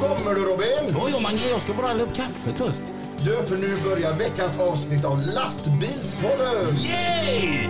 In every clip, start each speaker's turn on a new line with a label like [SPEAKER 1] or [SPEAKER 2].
[SPEAKER 1] Kommer du Robin?
[SPEAKER 2] Jo, jo, Mange, jag ska bara hälla upp kaffet först.
[SPEAKER 1] Du, för nu börjar veckans avsnitt av Lastbilspodden!
[SPEAKER 2] Yay!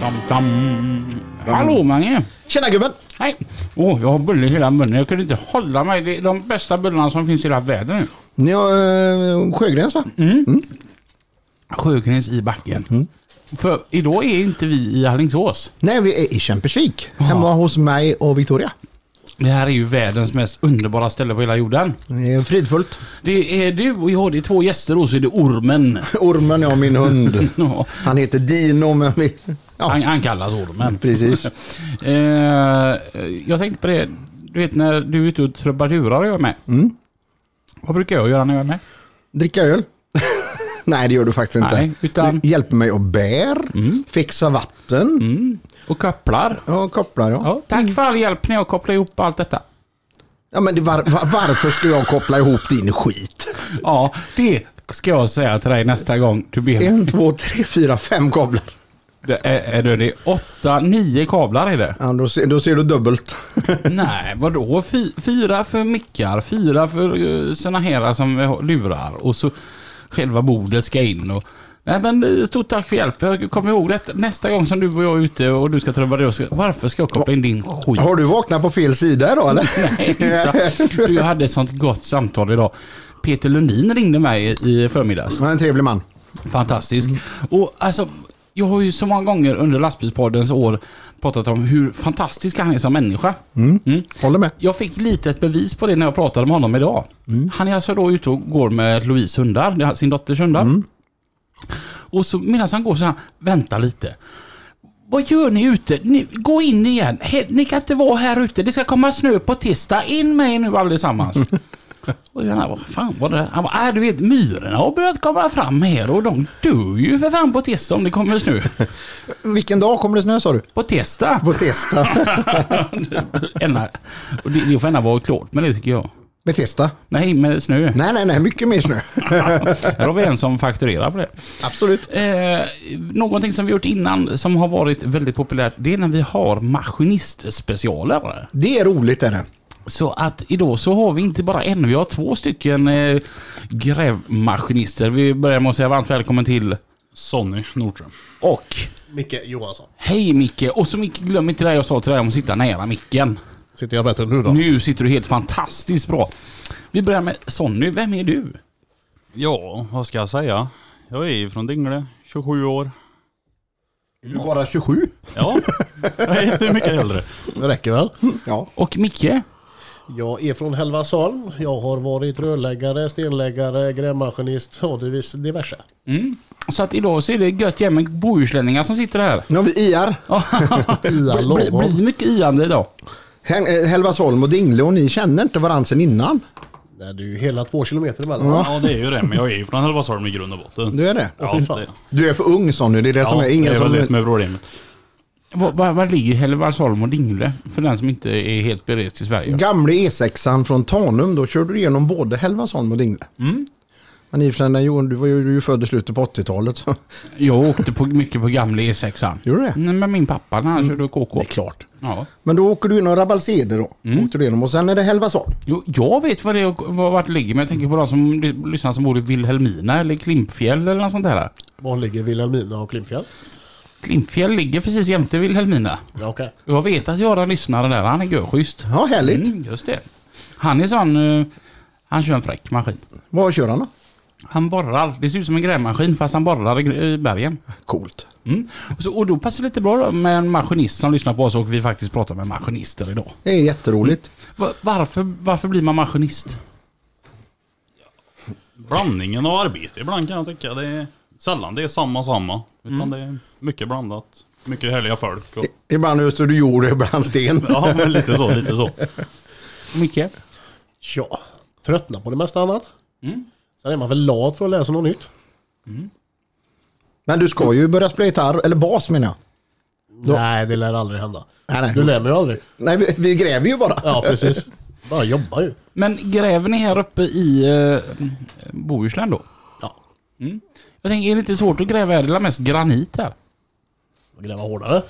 [SPEAKER 2] Dam, dam. Hallå Mange!
[SPEAKER 1] Tjena gubben!
[SPEAKER 2] Hej! Åh, jag har bulle i hela munnen. Jag kunde inte hålla mig. Det är de bästa bullarna som finns i hela världen nu.
[SPEAKER 1] Ni har eh, Sjögrens va?
[SPEAKER 2] Sjögrens i backen. Mm. För idag är inte vi i Alingsås.
[SPEAKER 1] Nej, vi är i Kämpersvik. Hemma hos mig och Victoria.
[SPEAKER 2] Det här är ju världens mest underbara ställe på hela jorden.
[SPEAKER 1] Det är fridfullt.
[SPEAKER 2] Det är du och jag, det är två gäster och så är det ormen.
[SPEAKER 1] Ormen ja, min hund.
[SPEAKER 2] Ja,
[SPEAKER 1] Han heter Dino men vi... Ja,
[SPEAKER 2] Han, han kallas ormen.
[SPEAKER 1] precis.
[SPEAKER 2] Eh, jag tänkte på det, du vet när du är ute och trubadurar och jag är med. Vad brukar jag göra när jag är med?
[SPEAKER 1] Dricka öl? Nej, Mm. det gör du faktiskt inte.
[SPEAKER 2] Nej, utan-
[SPEAKER 1] Du hjälper mig att bär, fixa vatten.
[SPEAKER 2] Och kopplar.
[SPEAKER 1] Ja, kopplar Mm. ja.
[SPEAKER 2] Ja, mm. tack för all hjälp när jag kopplar ihop allt detta.
[SPEAKER 1] Ja, men det var, var, varför skulle jag koppla ihop din skit?
[SPEAKER 2] Ja, det ska jag säga till dig nästa gång du ber.
[SPEAKER 1] En, två, tre, fyra, fem kablar.
[SPEAKER 2] Det är, är det, det är åtta, nio kablar är det.
[SPEAKER 1] Ja, då, ser, då ser du dubbelt.
[SPEAKER 2] Nej, vadå? Fy, fyra för mickar, fyra för uh, såna här som vi har- lurar och så själva bordet ska in. Och, nej men eh, stort tack för hjälp. Jag kommer ihåg detta. Nästa gång som du och jag är ute och du ska träffa dig, och ska- varför ska jag koppla in din skit?
[SPEAKER 1] Har du vaknat på fel sida idag eller?
[SPEAKER 2] Nej, utan- du, jag hade ett sånt gott samtal idag. Peter Lundin ringde mig i i förmiddags.
[SPEAKER 1] Han är en trevlig man.
[SPEAKER 2] Fantastisk. Och alltså, jag har ju så många gånger under lastbilspoddens år pratat om hur fantastisk han är som människa. Mm.
[SPEAKER 1] Håller med.
[SPEAKER 2] Jag fick lite ett bevis på det när jag pratade med honom idag. Han är alltså då ute och går med Louise hundar, det är sin dotters hundar. Och så medan han går så här, vänta lite. Vad gör ni ute? Ni, gå in igen. He, ni kan inte vara här ute. Det ska komma snö på tisdag. In med er nu allesammans. och jag bara, vad fan var det? Han bara, äh, du vet myrorna har börjat komma fram här och de dör ju för fan på tisdag om det kommer snö.
[SPEAKER 1] Vilken dag kommer det snö sa du?
[SPEAKER 2] På tisdag?
[SPEAKER 1] På tisdag.
[SPEAKER 2] Ena- och det, det får gärna vara klart med det tycker jag.
[SPEAKER 1] Med tisdag.
[SPEAKER 2] Nej, med snö.
[SPEAKER 1] Nej, nej, nej, mycket mer snö.
[SPEAKER 2] Här har vi en som fakturerar på det.
[SPEAKER 1] Absolut.
[SPEAKER 2] Eh, någonting som vi gjort innan som har varit väldigt populärt, det är när vi har maskinistspecialer.
[SPEAKER 1] Det är roligt är det.
[SPEAKER 2] Så att idag så har vi inte bara en, vi har två stycken eh, grävmaskinister. Vi börjar med att säga varmt välkommen till
[SPEAKER 3] Sonny Nordström.
[SPEAKER 2] och
[SPEAKER 4] Micke Johansson.
[SPEAKER 2] Hej Micke! Och så Micke, glöm inte det jag sa till dig om att sitta nära micken.
[SPEAKER 4] Sitter jag bättre nu då?
[SPEAKER 2] Nu sitter du helt fantastiskt bra. Vi börjar med Sonny, vem är du?
[SPEAKER 3] Ja, vad ska jag säga? Jag är ju från Dingle, 27 år.
[SPEAKER 1] Är du bara 27?
[SPEAKER 3] Ja, jag är inte mycket äldre.
[SPEAKER 4] Det räcker väl?
[SPEAKER 1] Ja.
[SPEAKER 2] Och Micke?
[SPEAKER 4] Jag är från Helvarsholm. Jag har varit rörläggare, stenläggare, grävmaskinist och divis- diverse.
[SPEAKER 2] Så att idag så är det gött jämn med bohuslänningar som sitter här.
[SPEAKER 1] Nu har vi IR.
[SPEAKER 4] Ia
[SPEAKER 2] Det blir,
[SPEAKER 4] lagom.
[SPEAKER 2] blir mycket iande idag.
[SPEAKER 1] Hen- eh, Helvarsholm och Dingle och ni känner inte varandra sen innan.
[SPEAKER 4] Nej, det är ju hela två kilometer emellan.
[SPEAKER 3] Ja, det är ju det. Men jag är ju från Helvarsholm i grund och botten.
[SPEAKER 1] Du är det?
[SPEAKER 3] Ja, det,
[SPEAKER 1] Du är för ung sa nu. Det är det som
[SPEAKER 3] ja,
[SPEAKER 1] är
[SPEAKER 3] det
[SPEAKER 1] ingen
[SPEAKER 3] är väl det
[SPEAKER 1] som...
[SPEAKER 3] som är problemet.
[SPEAKER 2] Var, var, var ligger Hällevadsholm och Dingle? För den som inte är helt berest i Sverige.
[SPEAKER 1] Gamle E6an från Tanum, då körde du igenom både Helvarsholm och Dingle.
[SPEAKER 3] Mm.
[SPEAKER 1] Men i och för sig, när Johan- du var ju du är ju född i slutet på 80-talet. Så.
[SPEAKER 2] Jag åkte på, mycket på gamla E6an.
[SPEAKER 1] Gjorde
[SPEAKER 3] Mm.
[SPEAKER 1] du det? Mm.
[SPEAKER 2] Nej, Med min pappa när han körde KK.
[SPEAKER 1] Det är klart.
[SPEAKER 2] Ja.
[SPEAKER 1] Men då åker du igenom Rabbalseder då.
[SPEAKER 3] Mm.
[SPEAKER 1] Åkte du igenom och sen är det Helvarsholm.
[SPEAKER 2] Jo, jag vet var det, var, vart det ligger, men jag tänker på de som det- lyssnar som bor i Vilhelmina eller Klimpfjäll eller något sånt där.
[SPEAKER 4] Var ligger Vilhelmina och Klimpfjäll?
[SPEAKER 2] Klimpfjäll ligger precis jämte Vilhelmina.
[SPEAKER 4] Ja, okej.
[SPEAKER 2] Jag vet att Göran lyssnade där, han är görschysst.
[SPEAKER 1] Ja, härligt.
[SPEAKER 2] Mm, just det. Han är sån... eh, han kör en fräck maskin.
[SPEAKER 1] Vad kör han då?
[SPEAKER 2] Han borrar. Det ser ut som en grävmaskin fast han borrar i gr- i bergen.
[SPEAKER 1] Coolt.
[SPEAKER 2] Mm. Och, så, och då passar det lite bra då med en maskinist som lyssnar på oss och vi faktiskt pratar med maskinister idag.
[SPEAKER 1] Det är jätteroligt.
[SPEAKER 2] Va- Varför, varför blir man maskinist?
[SPEAKER 3] Blandningen av arbete ibland kan jag tycka. Det är sällan det är samma samma. Utan det är mycket blandat. Mycket härliga folk. Och,
[SPEAKER 1] Mm. I- Ibland öser du jord och ibland sten.
[SPEAKER 3] ja, men lite så, lite så.
[SPEAKER 2] Micke?
[SPEAKER 4] Tja, tröttna på det mesta annat. Sen är man väl lat för att läsa något nytt.
[SPEAKER 1] Men du ska ju börja spela gitarr, eller bas menar jag.
[SPEAKER 4] Nej, det lär aldrig hända.
[SPEAKER 1] Nej, nej.
[SPEAKER 4] Du lär mig ju aldrig.
[SPEAKER 1] Nej, vi, vi gräver ju bara.
[SPEAKER 4] Ja, precis. Bara jobba ju.
[SPEAKER 2] Men gräver ni här uppe i eh, Bohuslän då?
[SPEAKER 4] Ja,
[SPEAKER 2] Jag tänker, är det inte svårt att gräva här? Det är väl mest granit här?
[SPEAKER 4] gräva hårdare.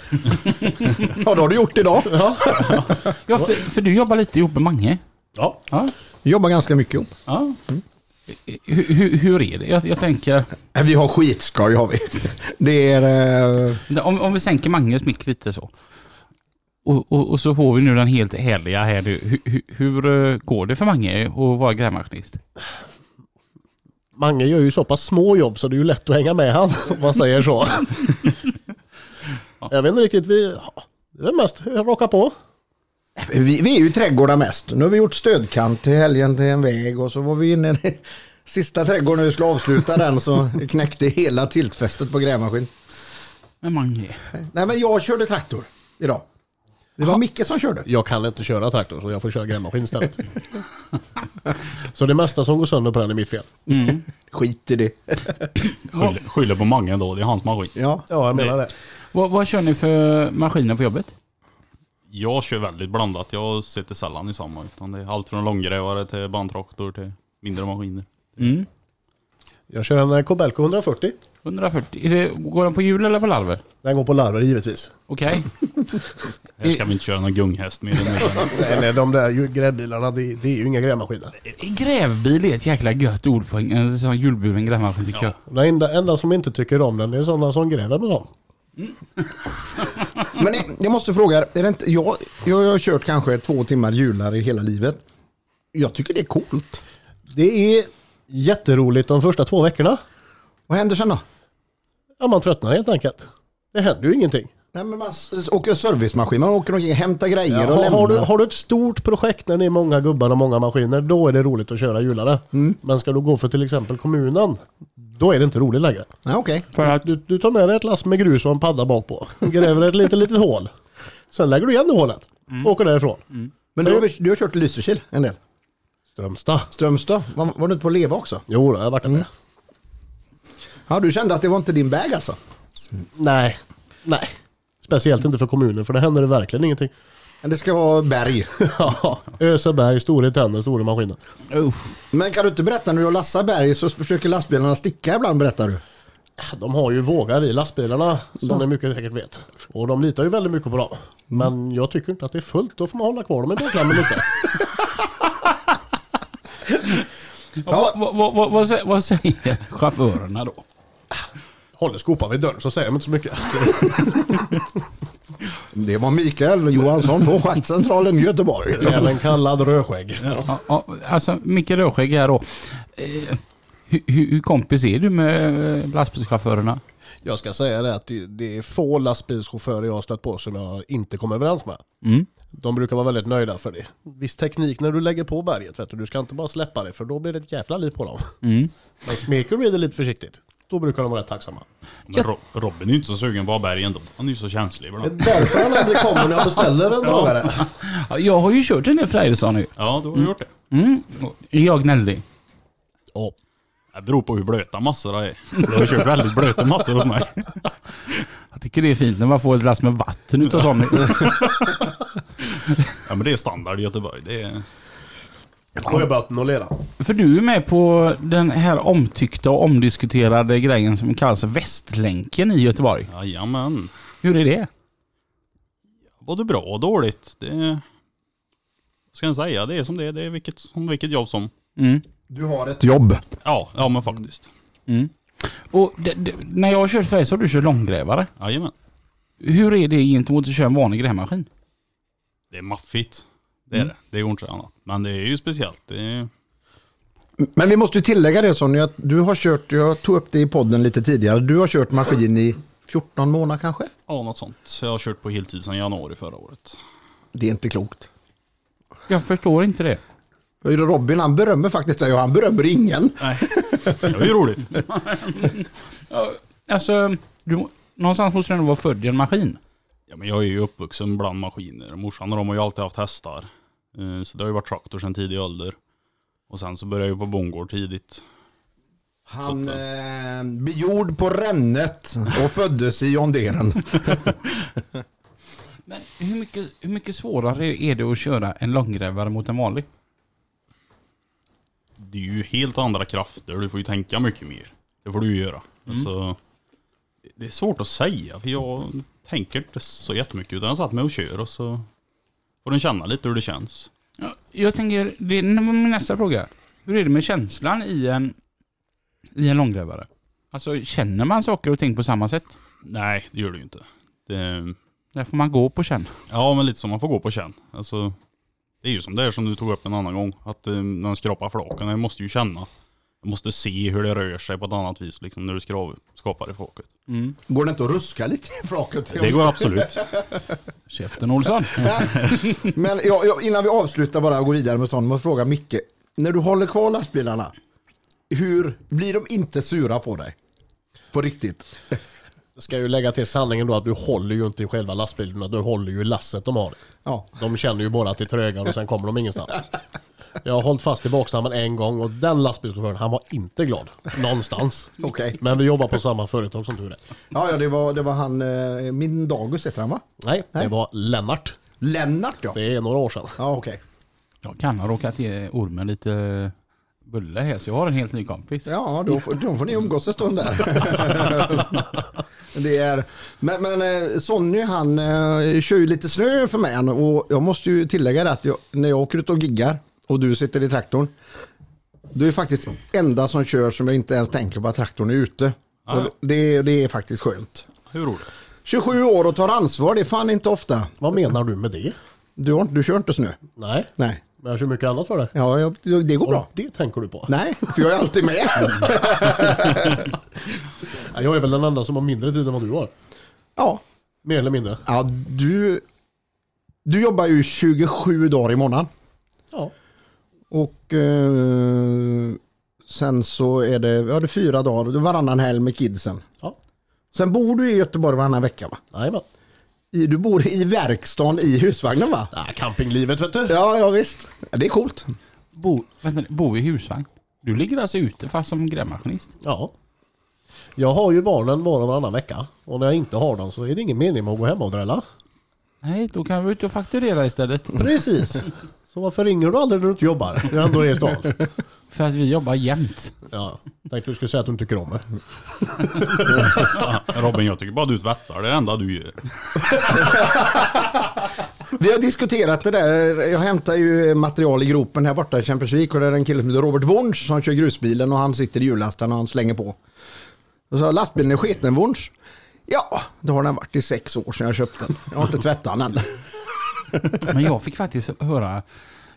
[SPEAKER 1] Ja, det har du gjort idag.
[SPEAKER 2] Ja, för, för du jobbar lite ihop med Mange.
[SPEAKER 4] Ja.
[SPEAKER 2] Ja.
[SPEAKER 1] Vi jobbar ganska mycket ihop.
[SPEAKER 2] ja. Hur, hur, hur är det? Jag, jag tänker,
[SPEAKER 1] Nej, Vi har skitskoj har vi. Det är... Eh,
[SPEAKER 2] om, om vi sänker Manges mick lite så. Och, och, och så får vi nu den helt härliga här nu. Hur, hur, hur eh, går det för Mange att vara grävmaskinist?
[SPEAKER 4] Mange gör ju så pass små jobb så det är ju lätt att hänga med han om man säger så. Jag vet inte riktigt, vi... ja, Det är mest hur jag råkar på.
[SPEAKER 1] vi, vi är ju trädgårdar mest. Nu har vi gjort stödkant till helgen till en väg och så var vi inne i sista trädgården och vi skulle avsluta den så knäckte hela tiltfästet på grävmaskin.
[SPEAKER 2] Med Mange?
[SPEAKER 1] Nej, men jag körde traktor idag. Det var Micke som körde.
[SPEAKER 4] Jag kan inte köra traktor så jag får köra grävmaskin istället. så det mesta som går sönder på den är mitt fel.
[SPEAKER 1] Skit i det.
[SPEAKER 3] Skyller, skyller på Mange då, det är hans maskin.
[SPEAKER 1] Ja.
[SPEAKER 4] Ja, jag
[SPEAKER 3] menar
[SPEAKER 4] menar det.
[SPEAKER 2] Vad, vad kör ni för maskiner på jobbet?
[SPEAKER 3] Jag kör väldigt blandat, jag sitter sällan i samma. Utan det är allt från långgrävare till bandtraktor till mindre maskiner.
[SPEAKER 2] Mm.
[SPEAKER 4] Jag kör en eh, Kobelco 140.
[SPEAKER 2] 140. Är det, går den på hjul eller på larver?
[SPEAKER 4] Den går på larver givetvis.
[SPEAKER 2] Okej.
[SPEAKER 3] Här ska vi inte köra någon gunghäst med den.
[SPEAKER 4] Nej, nej, de där ju- grävbilarna, det, det är ju inga grävmaskiner.
[SPEAKER 2] Grävbil är ett jäkla gött ord på en, en sån hjulburen grävmaskin tycker jag.
[SPEAKER 4] De enda, enda som inte tycker om den är sådana som gräver med dem.
[SPEAKER 1] Men jag- jag måste fråga, er, är det inte, jag, jag har kört kanske två timmar hjular i hela livet. Jag tycker det är coolt.
[SPEAKER 4] Det är jätteroligt de första två veckorna.
[SPEAKER 1] Vad händer sen då?
[SPEAKER 4] Ja, man tröttnar helt enkelt. Det händer ju ingenting.
[SPEAKER 1] Nej, men man s- åker servicemaskin, man åker omkring och hämtar grejer och
[SPEAKER 4] har,
[SPEAKER 1] lämnar.
[SPEAKER 4] har, du, har du ett stort projekt när det är många gubbar och många maskiner, då är det roligt att köra hjulare.
[SPEAKER 1] Mm.
[SPEAKER 4] Men ska du gå för till exempel kommunen, då är det inte roligt längre.
[SPEAKER 1] Nej, okej.
[SPEAKER 2] För att
[SPEAKER 4] Du, du tar med dig ett lass med grus och en padda bak på. Gräver ett litet, litet hål. Sen lägger du igen det hålet.
[SPEAKER 1] Mm.
[SPEAKER 4] Åker därifrån.
[SPEAKER 1] Men du, har- du har kört i Lysekil en del.
[SPEAKER 4] Strömstad.
[SPEAKER 1] Strömstad, var, var du inte på Leva också?
[SPEAKER 4] Jo, då, jag har varit där.
[SPEAKER 1] Mm. Ja, du kände att det var inte din väg alltså?
[SPEAKER 4] Nej. Nej. Speciellt inte för kommunen, för det händer det verkligen ingenting.
[SPEAKER 1] Men Det ska vara berg.
[SPEAKER 4] Ja, Öseberg, stora tänder, stora maskiner.
[SPEAKER 2] Uff.
[SPEAKER 1] Men kan du inte berätta när du lassar berg så försöker lastbilarna sticka ibland berättar du.
[SPEAKER 4] De har ju vågar i lastbilarna, som ni mycket säkert vet. Och de litar ju väldigt mycket på dem.
[SPEAKER 1] Mm.
[SPEAKER 4] Men jag tycker inte att det är fullt, då får man hålla kvar dem i baklammen lite.
[SPEAKER 2] Ja. Vad, vad, vad, vad, sä- vad säger chaufförerna då?
[SPEAKER 4] Håller skopan vid dörren så säger de inte så mycket.
[SPEAKER 1] Det var Mikael Johansson på Schaktcentralen i Göteborg.
[SPEAKER 4] Även kallad rödskägg.
[SPEAKER 2] Ja, ja, alltså, Micke Rödskägg här då. Eh, hur, hur hur kompis är du med eh, lastbilschaufförerna?
[SPEAKER 4] Jag ska säga det att det- det är få lastbilschaufförer jag har stött på som jag inte kommer överens med. De brukar vara väldigt nöjda för det. Viss teknik när du lägger på berget, vet du, du ska inte bara släppa det för då blir det ett jävla liv på dem. Men smeker du i det lite försiktigt, då brukar de vara rätt tacksamma.
[SPEAKER 3] Men Ro- Robin är ju inte så sugen på att ha berg ändå. Han är ju så känslig
[SPEAKER 4] Det är
[SPEAKER 3] ibland.
[SPEAKER 4] därför han aldrig kommer när jag beställer en dragare.
[SPEAKER 2] Ja, jag har ju kört en del Frejdeson nu.
[SPEAKER 3] Ja, du har gjort det.
[SPEAKER 2] Mm. Är jag gnällig?
[SPEAKER 4] Ja.
[SPEAKER 3] Det beror på hur blöta massorna är. Du har kört väldigt blöta massor hos mig.
[SPEAKER 2] Jag tycker det är fint när man får ett lass med vatten utav sån.
[SPEAKER 3] Ja men det är standard i Göteborg. Det är...
[SPEAKER 4] Sjöböten och lera.
[SPEAKER 2] För du är med på den här omtyckta och omdiskuterade grejen som kallas Västlänken i Göteborg.
[SPEAKER 3] Jajamän.
[SPEAKER 2] Hur är det?
[SPEAKER 3] Både bra och dåligt. Det är... vad Ska jag säga, det är som det är. Det är vilket, som vilket jobb som.
[SPEAKER 2] Mm.
[SPEAKER 1] Du har ett jobb.
[SPEAKER 3] Ja, ja men faktiskt.
[SPEAKER 2] Och det, det, när jag har kört färg så har du kört långgrävare.
[SPEAKER 3] Jajamän.
[SPEAKER 2] Hur är det gentemot att köra en vanlig grävmaskin?
[SPEAKER 3] Det är maffigt. Det är det. Det går inte annat. Men det är ju speciellt. Det är...
[SPEAKER 1] Men vi måste ju tillägga det Sonny, att du har kört, jag tog upp det i podden lite tidigare, du har kört maskin i 14 månader kanske?
[SPEAKER 3] Ja, något sånt. Jag har kört på heltid sedan januari förra året.
[SPEAKER 1] Det är inte klokt.
[SPEAKER 2] Jag förstår inte det.
[SPEAKER 1] Robin han berömmer faktiskt sig och han berömmer ingen.
[SPEAKER 3] Nej, det var ju roligt.
[SPEAKER 2] Ja, Alltså, du, någonstans måste du ändå vara född i en maskin.
[SPEAKER 3] Ja, men jag är ju uppvuxen bland maskiner. Morsan och de har ju alltid haft hästar. Eh, Så det har ju varit traktor sedan tidig ålder. Och sen så började jag ju på bondgård tidigt.
[SPEAKER 1] Han eh, blir gjord på Rännet och föddes i Jonderen.
[SPEAKER 2] Men hur mycket, hur mycket svårare är det att köra en långgrävare mot en vanlig?
[SPEAKER 3] Det är ju helt andra krafter, du får ju tänka mycket mer. Det får du ju göra. Alltså, det är svårt att säga, för jag tänker inte så jättemycket. Utan jag satt mig och kör och så får den känna lite hur det känns.
[SPEAKER 2] Ja, Jag tänker, det är min nästa fråga. Hur är det med känslan i en, i en långgrävare? Alltså känner man saker och ting på samma sätt?
[SPEAKER 3] Nej, det gör det ju inte. Det,
[SPEAKER 2] Där får man gå på känn.
[SPEAKER 3] ja, men lite som man får gå på känn. Alltså, det är ju som det är som du tog upp en annan gång. Att eh, när man skrapar flaken, jag måste ju känna. Jag måste se hur det rör sig på ett annat vis liksom, när du skrav, skapar i flaket.
[SPEAKER 1] Går det inte att ruska lite i flaket?
[SPEAKER 3] Det går absolut.
[SPEAKER 2] Käften Olsson.
[SPEAKER 1] Men jag, jag, innan vi avslutar bara och går vidare med sånt, måste jag fråga Micke. När du håller kvar lastbilarna, hur blir de inte sura på dig? På riktigt.
[SPEAKER 4] Ska ju lägga till sanningen då att du håller ju inte i själva lastbilen, utan du håller ju i lasset de har.
[SPEAKER 1] Ja.
[SPEAKER 4] De känner ju bara att det är trögar och sen kommer de ingenstans. Jag har hållit fast i baksnammen en gång och den lastbilschauffören, han var inte glad. Någonstans.
[SPEAKER 1] Okej.
[SPEAKER 4] Men vi jobbar på samma företag som du är.
[SPEAKER 1] Ja, ja det, var, det var han, eh, min dagus heter han va?
[SPEAKER 4] Nej,
[SPEAKER 1] Nej.
[SPEAKER 4] det var Lennart.
[SPEAKER 1] Lennart ja.
[SPEAKER 4] Det är några år sedan.
[SPEAKER 1] Ja, okej.
[SPEAKER 2] Jag kan ha råkat ge ormen lite bulle här så jag har en helt ny kompis.
[SPEAKER 1] Ja, då får, då får ni umgås en stund där. det är, men, men eh, Sonny han eh, kör ju lite snö för mig han, och jag måste ju tillägga det att jag, när jag åker ut och giggar och du sitter i traktorn. Du är faktiskt enda som kör som jag inte ens tänker på att traktorn är ute.
[SPEAKER 3] Ja.
[SPEAKER 1] Och det, det är faktiskt skönt.
[SPEAKER 3] Hur roligt?
[SPEAKER 1] 27 år och tar ansvar, det är fan inte ofta.
[SPEAKER 4] Vad menar du med det?
[SPEAKER 1] Du, har, inte- du kör inte snö?
[SPEAKER 4] Nej,
[SPEAKER 1] Nej.
[SPEAKER 4] men jag kör mycket annat för det.
[SPEAKER 1] Ja, jag, det går bra.
[SPEAKER 4] Och det tänker du på?
[SPEAKER 1] Nej, för jag är alltid med.
[SPEAKER 4] Ja, Jag är väl den enda som har mindre tid än vad du har.
[SPEAKER 1] Ja,
[SPEAKER 4] Mer eller mindre.
[SPEAKER 1] Ja, du, du jobbar ju 27 dagar i månaden.
[SPEAKER 4] Ja.
[SPEAKER 1] Och eh, sen så är det, ja, det är fyra dagar, det är varannan helg med kidsen.
[SPEAKER 4] Ja.
[SPEAKER 1] Sen bor du i Göteborg varannan vecka va?
[SPEAKER 4] Jajamän.
[SPEAKER 1] I, du bor i verkstaden i husvagnen va?
[SPEAKER 4] Ah, campinglivet vet du.
[SPEAKER 1] Ja, ja visst. Ja, det är coolt.
[SPEAKER 2] Bo, vänta, bo i husvagn. Du ligger alltså ute fast som grävmaskinist?
[SPEAKER 4] Ja. Jag har ju barnen var och varannan vecka. Och när jag inte har dem så är det ingen mening med att gå hem och drälla.
[SPEAKER 2] Nej, då kan vi ut och fakturera istället.
[SPEAKER 4] Precis. Så varför ringer du aldrig när du inte jobbar? När du ändå är i stan.
[SPEAKER 2] För att vi jobbar jämt.
[SPEAKER 4] Ja. Tänkte du skulle säga att du inte tycker om mig.
[SPEAKER 3] Robin, jag tycker bara du tvättar. Det är det enda du gör.
[SPEAKER 1] Vi har diskuterat det där. Jag hämtar ju material i gropen här borta i Kämpersvik och det är en kille som heter Robert Wunsch som kör grusbilen och han sitter i hjullastaren och han slänger på. Och så lastbilen är sketen Wunsch. Ja, då har den varit i sex år sedan jag köpte den. Jag har inte tvättat den än.
[SPEAKER 2] Men jag fick faktiskt höra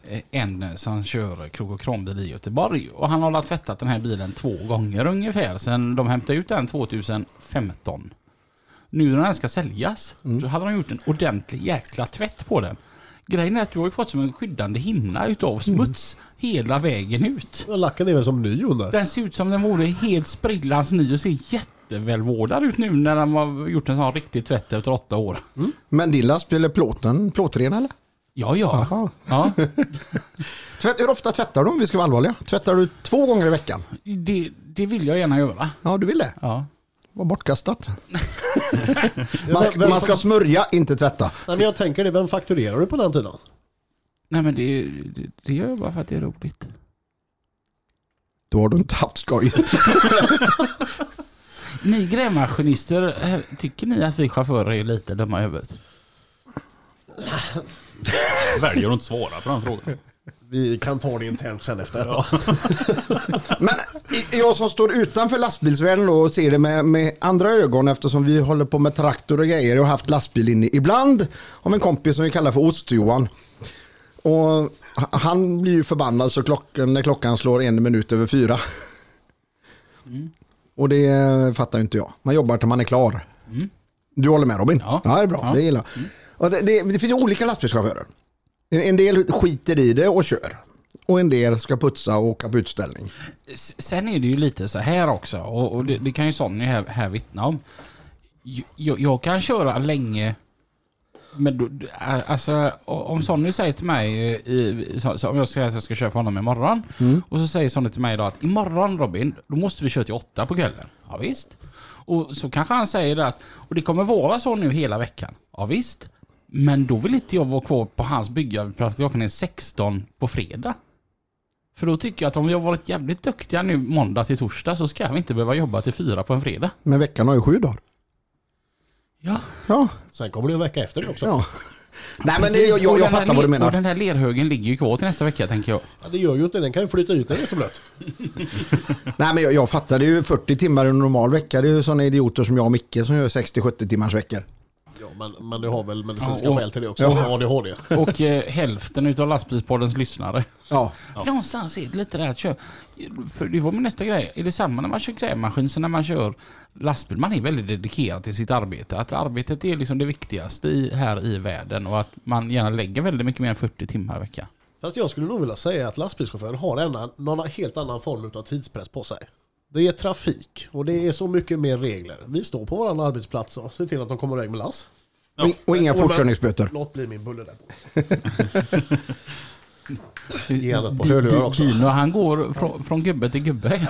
[SPEAKER 2] eh, en som kör krog och kranbil i Göteborg och han har väl tvättat den här bilen två gånger ungefär sedan de hämtade ut den 2015. Nu när den ska säljas, då hade de gjort en ordentlig jäkla tvätt på den. Grejen är att du har ju fått som en skyddande hinna utav smuts hela vägen ut.
[SPEAKER 4] Men Lacken är väl som ny under?
[SPEAKER 2] Den ser ut som den vore helt sprillans ny och ser jättevälvårdad ut nu när de har gjort en sån riktig tvätt efter åtta år.
[SPEAKER 1] Men din lastbil är plåten, plåtren eller?
[SPEAKER 2] Ja, ja. ja.
[SPEAKER 1] Tvätt, hur ofta tvättar du om vi ska vara allvarliga? Tvättar du två gånger i veckan?
[SPEAKER 2] Det, det vill jag gärna göra.
[SPEAKER 1] Ja, du ville.
[SPEAKER 2] Ja.
[SPEAKER 1] Var bortkastat. Man, ska- man ska smörja, inte tvätta.
[SPEAKER 4] Nej, men jag tänker det, vem fakturerar du på den tiden?
[SPEAKER 2] Nej men det, det, det gör jag bara för att det är roligt.
[SPEAKER 1] Då har du inte haft skoj.
[SPEAKER 2] Ni grävmaskinister, här, tycker ni att vi chaufförer är lite dumma i huvudet?
[SPEAKER 3] Väljer att inte svara på den frågan.
[SPEAKER 4] Vi kan ta det internt sen efter detta.
[SPEAKER 1] Men i- jag som står utanför lastbilsvärlden då och ser det med, med andra ögon eftersom vi håller på med traktor och grejer och haft lastbil inne ibland. Har en kompis som vi kallar för Ost-Johan. Och h- han blir ju förbannad så klockan, när klockan slår en minut över fyra. Och det eh, fattar ju inte jag. Man jobbar till man är klar. Du håller med Robin?
[SPEAKER 2] Ja.
[SPEAKER 1] det är bra.
[SPEAKER 2] Ja.
[SPEAKER 1] Det gillar jag. Och det, det, det finns ju olika lastbilschaufförer. En, en del skiter i det och kör. Och en del ska putsa och åka på utställning.
[SPEAKER 2] S- Sen är det ju lite så här också, och, och det, det kan ju Sonny här, här vittna om. J- Jag, jag kan köra länge Men då, alltså, om Sonny säger till mig, eh, i, så, så om jag säger att jag ska köra för honom imorgon, och så säger Sonny till mig idag att imorgon Robin, då måste vi köra till åtta på kvällen. Ja, visst. Och så kanske han säger det att, och det kommer vara så nu hela veckan. Ja, visst. Men då vill inte jag vara kvar på hans bygga för att klockan är 16 på fredag. För då tycker jag att om vi har varit jävligt duktiga nu måndag till torsdag så ska vi inte behöva jobba till fyra på en fredag.
[SPEAKER 1] Men veckan har ju sju dagar.
[SPEAKER 2] Ja.
[SPEAKER 1] Ja,
[SPEAKER 4] Sen kommer det en vecka efter det också.
[SPEAKER 1] ja. Nej men det,
[SPEAKER 2] Precis,
[SPEAKER 1] jag, jag,
[SPEAKER 2] och
[SPEAKER 1] jag
[SPEAKER 2] den här
[SPEAKER 1] fattar vad du
[SPEAKER 2] le- Och
[SPEAKER 1] menar.
[SPEAKER 2] den här lerhögen ligger ju kvar till nästa vecka tänker jag.
[SPEAKER 4] Ja, det gör ju inte, den kan ju flytta ut när det är så blött.
[SPEAKER 1] Nej men jag, jag fattar, det är ju 40 timmar en normal vecka. Det är ju sådana idioter som jag och Micke som gör 60-70 timmars veckor.
[SPEAKER 4] Ja, men, men du har väl medicinska
[SPEAKER 2] Ja, och-
[SPEAKER 4] skäl till det också? Ja. ADHD.
[SPEAKER 2] Och eh, hälften utav lastbilspoddens lyssnare.
[SPEAKER 1] Ja.
[SPEAKER 2] Någonstans är det lite där att köra. För det var min nästa grej. Är det samma när man kör grävmaskin som när man kör lastbil? Man är väldigt dedikerad till sitt arbete. Att arbetet är liksom det viktigaste i, här i världen och att man gärna lägger väldigt mycket mer än 40 timmar i veckan.
[SPEAKER 4] Fast jag skulle nog vilja säga att lastbilschauffören har en, någon helt annan form av tidspress på sig. Det är trafik och det är så mycket mer regler. Vi står på vår arbetsplats och ser till att de kommer iväg med lass.
[SPEAKER 1] Och, in- och inga
[SPEAKER 4] Och- och-
[SPEAKER 1] fortkörningsböter.
[SPEAKER 4] Låt bli min bulle där på. Ge han ett par hörlurar också.
[SPEAKER 2] Dino han går från, från gubbe till gubbe.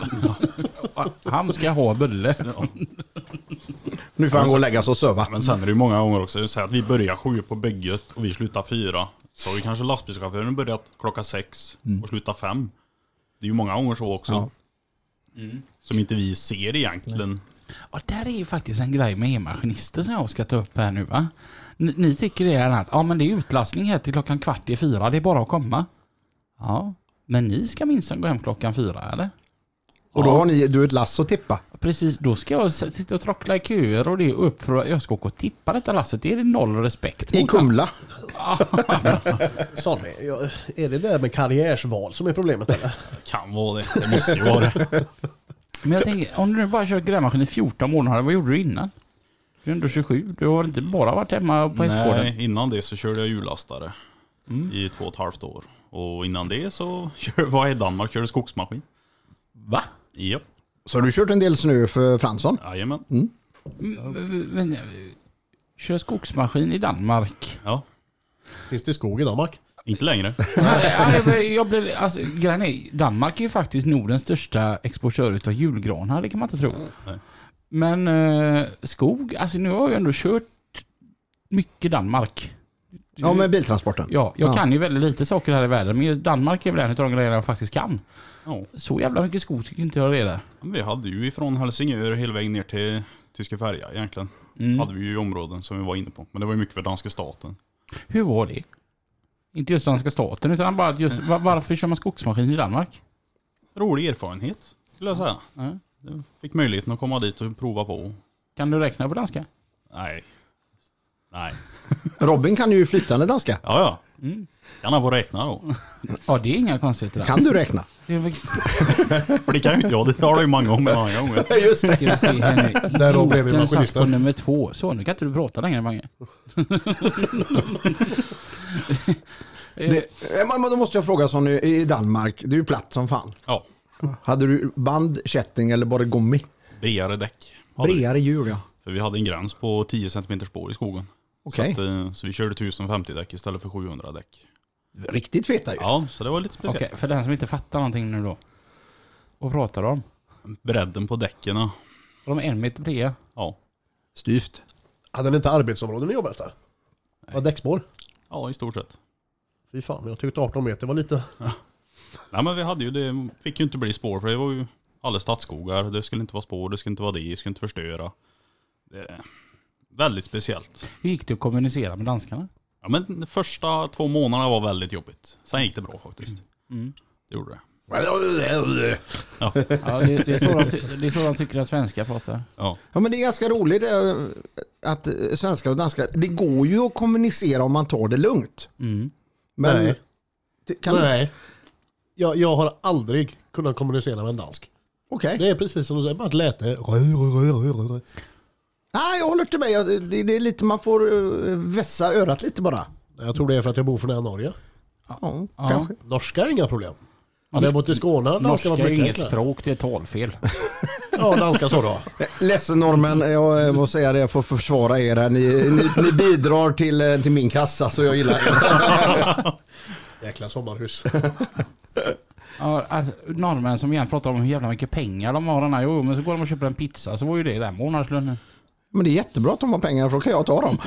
[SPEAKER 2] Han ska ha bulle.
[SPEAKER 1] Nu får han gå och lägga sig och söva.
[SPEAKER 3] Men sen är det ju många gånger också, säg att vi börjar sju på bygget och vi slutar fyra. Så har ju kanske lastbilschauffören börjat klockan sex och slutar fem. Det är ju många gånger så också. Som inte vi ser egentligen.
[SPEAKER 2] Ja, där är ju faktiskt en grej med e-maskinister som jag ska ta upp här nu va. Ni, ni tycker det är att ja, men det är utlastning här till klockan kvart i fyra, det är bara att komma. Ja, men ni ska minst gå hem klockan fyra eller?
[SPEAKER 1] Och då har ni, du ett lass att tippa.
[SPEAKER 2] Precis, då ska jag s- sitta och trockla i köer och det är upp för att jag ska åka och tippa detta lasset. Det är det noll respekt
[SPEAKER 1] I
[SPEAKER 2] mot.
[SPEAKER 1] Kumla.
[SPEAKER 4] Sonny, jag- är det där med karriärsval som är problemet eller?
[SPEAKER 3] Kan vara det. Det måste ju vara det.
[SPEAKER 2] Men jag tänker, om du nu bara kört grävmaskin i 14 månader, vad gjorde du innan? Du är ändå 27, du har inte bara varit hemma på hästgården.
[SPEAKER 3] Nej, innan det så körde jag hjullastare
[SPEAKER 2] Mm.
[SPEAKER 3] i två och ett halvt år. Och innan det så kör- var jag i Danmark körde skogsmaskin.
[SPEAKER 2] Va?
[SPEAKER 3] Japp,
[SPEAKER 1] Så har du kört en del snö för Fransson.
[SPEAKER 3] jajamän.
[SPEAKER 2] Mm. Men, kör skogsmaskin i Danmark.
[SPEAKER 3] Ja,
[SPEAKER 4] Finns det skog i Danmark?
[SPEAKER 3] inte längre.
[SPEAKER 2] Nej, nej, men jag blir, alltså, grejen är, Danmark är ju faktiskt Nordens största exportör utav julgranar, det kan man inte tro.
[SPEAKER 3] Nej.
[SPEAKER 2] Men eh, skog, alltså nu har jag ändå kört mycket Danmark.
[SPEAKER 1] Ja, med biltransporten.
[SPEAKER 2] Ja, jag
[SPEAKER 1] Ja.
[SPEAKER 2] kan ju väldigt lite saker här i världen, men ju Danmark är väl en av de grejerna jag faktiskt kan.
[SPEAKER 3] Ja.
[SPEAKER 2] Så jävla mycket skog tycker inte jag det är där.
[SPEAKER 3] Men Vi hade ju ifrån Helsingör hela vägen ner till Tyska färja egentligen.
[SPEAKER 2] Mm.
[SPEAKER 3] Hade vi ju områden som vi var inne på. Men det var ju mycket för danska staten.
[SPEAKER 2] Hur var det? Inte just danska staten, utan bara att just, va- varför kör man skogsmaskin i Danmark?
[SPEAKER 3] Rolig erfarenhet skulle jag säga.
[SPEAKER 2] Ja.
[SPEAKER 3] Jag fick möjligheten att komma dit och prova på.
[SPEAKER 2] Kan du räkna på danska?
[SPEAKER 3] Nej. Nej.
[SPEAKER 1] Robin kan ju flytande danska.
[SPEAKER 3] Ja, ja.
[SPEAKER 2] Mm.
[SPEAKER 3] Kan han få räkna då?
[SPEAKER 2] Ja, det är inga konstigheter. där.
[SPEAKER 1] Kan du räkna?
[SPEAKER 2] Det är väl-
[SPEAKER 3] För det kan ju inte jag. Det talar jag ju många om en annan gång.
[SPEAKER 1] Just det.
[SPEAKER 2] Ska vi se här nu.
[SPEAKER 4] Där då blev vi
[SPEAKER 2] Idioten satt
[SPEAKER 4] maskinisten.
[SPEAKER 2] på nummer två. Så, nu kan inte du prata längre Mange. det,
[SPEAKER 1] Eh, Men men då måste jag fråga Sonny, i Danmark, det är ju platt som fan.
[SPEAKER 3] Ja.
[SPEAKER 1] Hade du band, kätting eller bara gummi?
[SPEAKER 3] Bredare däck. hade vi.
[SPEAKER 1] Bredare hjul ja.
[SPEAKER 3] För vi hade en gräns på 10 cm spår i skogen.
[SPEAKER 1] Okej.
[SPEAKER 3] Så, att, eh, så vi körde 1050 däck istället för 700 däck.
[SPEAKER 1] Riktigt feta ju.
[SPEAKER 3] Ja, så det var lite speciellt.
[SPEAKER 2] Okej, för den som inte fattar någonting nu då. Vad pratar du om?
[SPEAKER 3] Bredden på däcken.
[SPEAKER 2] De är en meter breda.
[SPEAKER 3] Ja.
[SPEAKER 1] Styvt.
[SPEAKER 4] Hade ni inte arbetsområden ni jobbade efter? Ja, däckspår?
[SPEAKER 3] ja, i stort sett.
[SPEAKER 4] Fy fan, jag tyckte 18 meter var lite...
[SPEAKER 3] Nej men vi hade ju det, fick ju inte bli spår för det var ju alla stadsskogar, det skulle inte vara spår, det skulle inte vara det, det skulle inte förstöra. Det är väldigt speciellt.
[SPEAKER 2] Hur gick det att kommunicera med danskarna?
[SPEAKER 3] Ja men de första två månaderna var väldigt jobbigt. Sen gick det bra faktiskt. Det gjorde det. Ja.
[SPEAKER 2] Ja, det, det, är så de, ty- det är så de tycker att svenskar pratar.
[SPEAKER 3] ja.
[SPEAKER 1] Ja men det är ganska roligt eh, att eh, svenskar och danskar, det går ju att kommunicera om man tar det lugnt. Men,
[SPEAKER 4] Nej.
[SPEAKER 1] Det- Kan, Okej.
[SPEAKER 4] Nej. Jag, jag har aldrig kunnat kommunicera med en dansk. Det är precis som du säger, bara ett läte.
[SPEAKER 1] Nej jag håller inte med, Jag- det, det är lite, man får eh, vässa örat lite bara.
[SPEAKER 4] Jag tror det är för att jag bor för nära Norge.
[SPEAKER 1] Ja, kanske.
[SPEAKER 4] Norska är inga problem. Hade jag bott i Skåne hade
[SPEAKER 2] Norska
[SPEAKER 4] danskan varit
[SPEAKER 2] är ju
[SPEAKER 4] mycket
[SPEAKER 2] inget
[SPEAKER 4] enklare.
[SPEAKER 2] språk, det är talfel.
[SPEAKER 4] Ja, danska så då.
[SPEAKER 1] Ledsen norrmän, jag eh, måste säga det, jag får försvara er här. Ni, ni, ni bidrar till, eh, till min kassa så jag gillar det.
[SPEAKER 4] Jäkla sommarhus.
[SPEAKER 2] Ja, alltså, norrmän som igen pratar om hur jävla mycket pengar de har. Den här. Jo, jo, men så går de och köper en pizza så var ju det den månadslönen.
[SPEAKER 1] Men det är jättebra att de har pengar för då kan jag ta dem.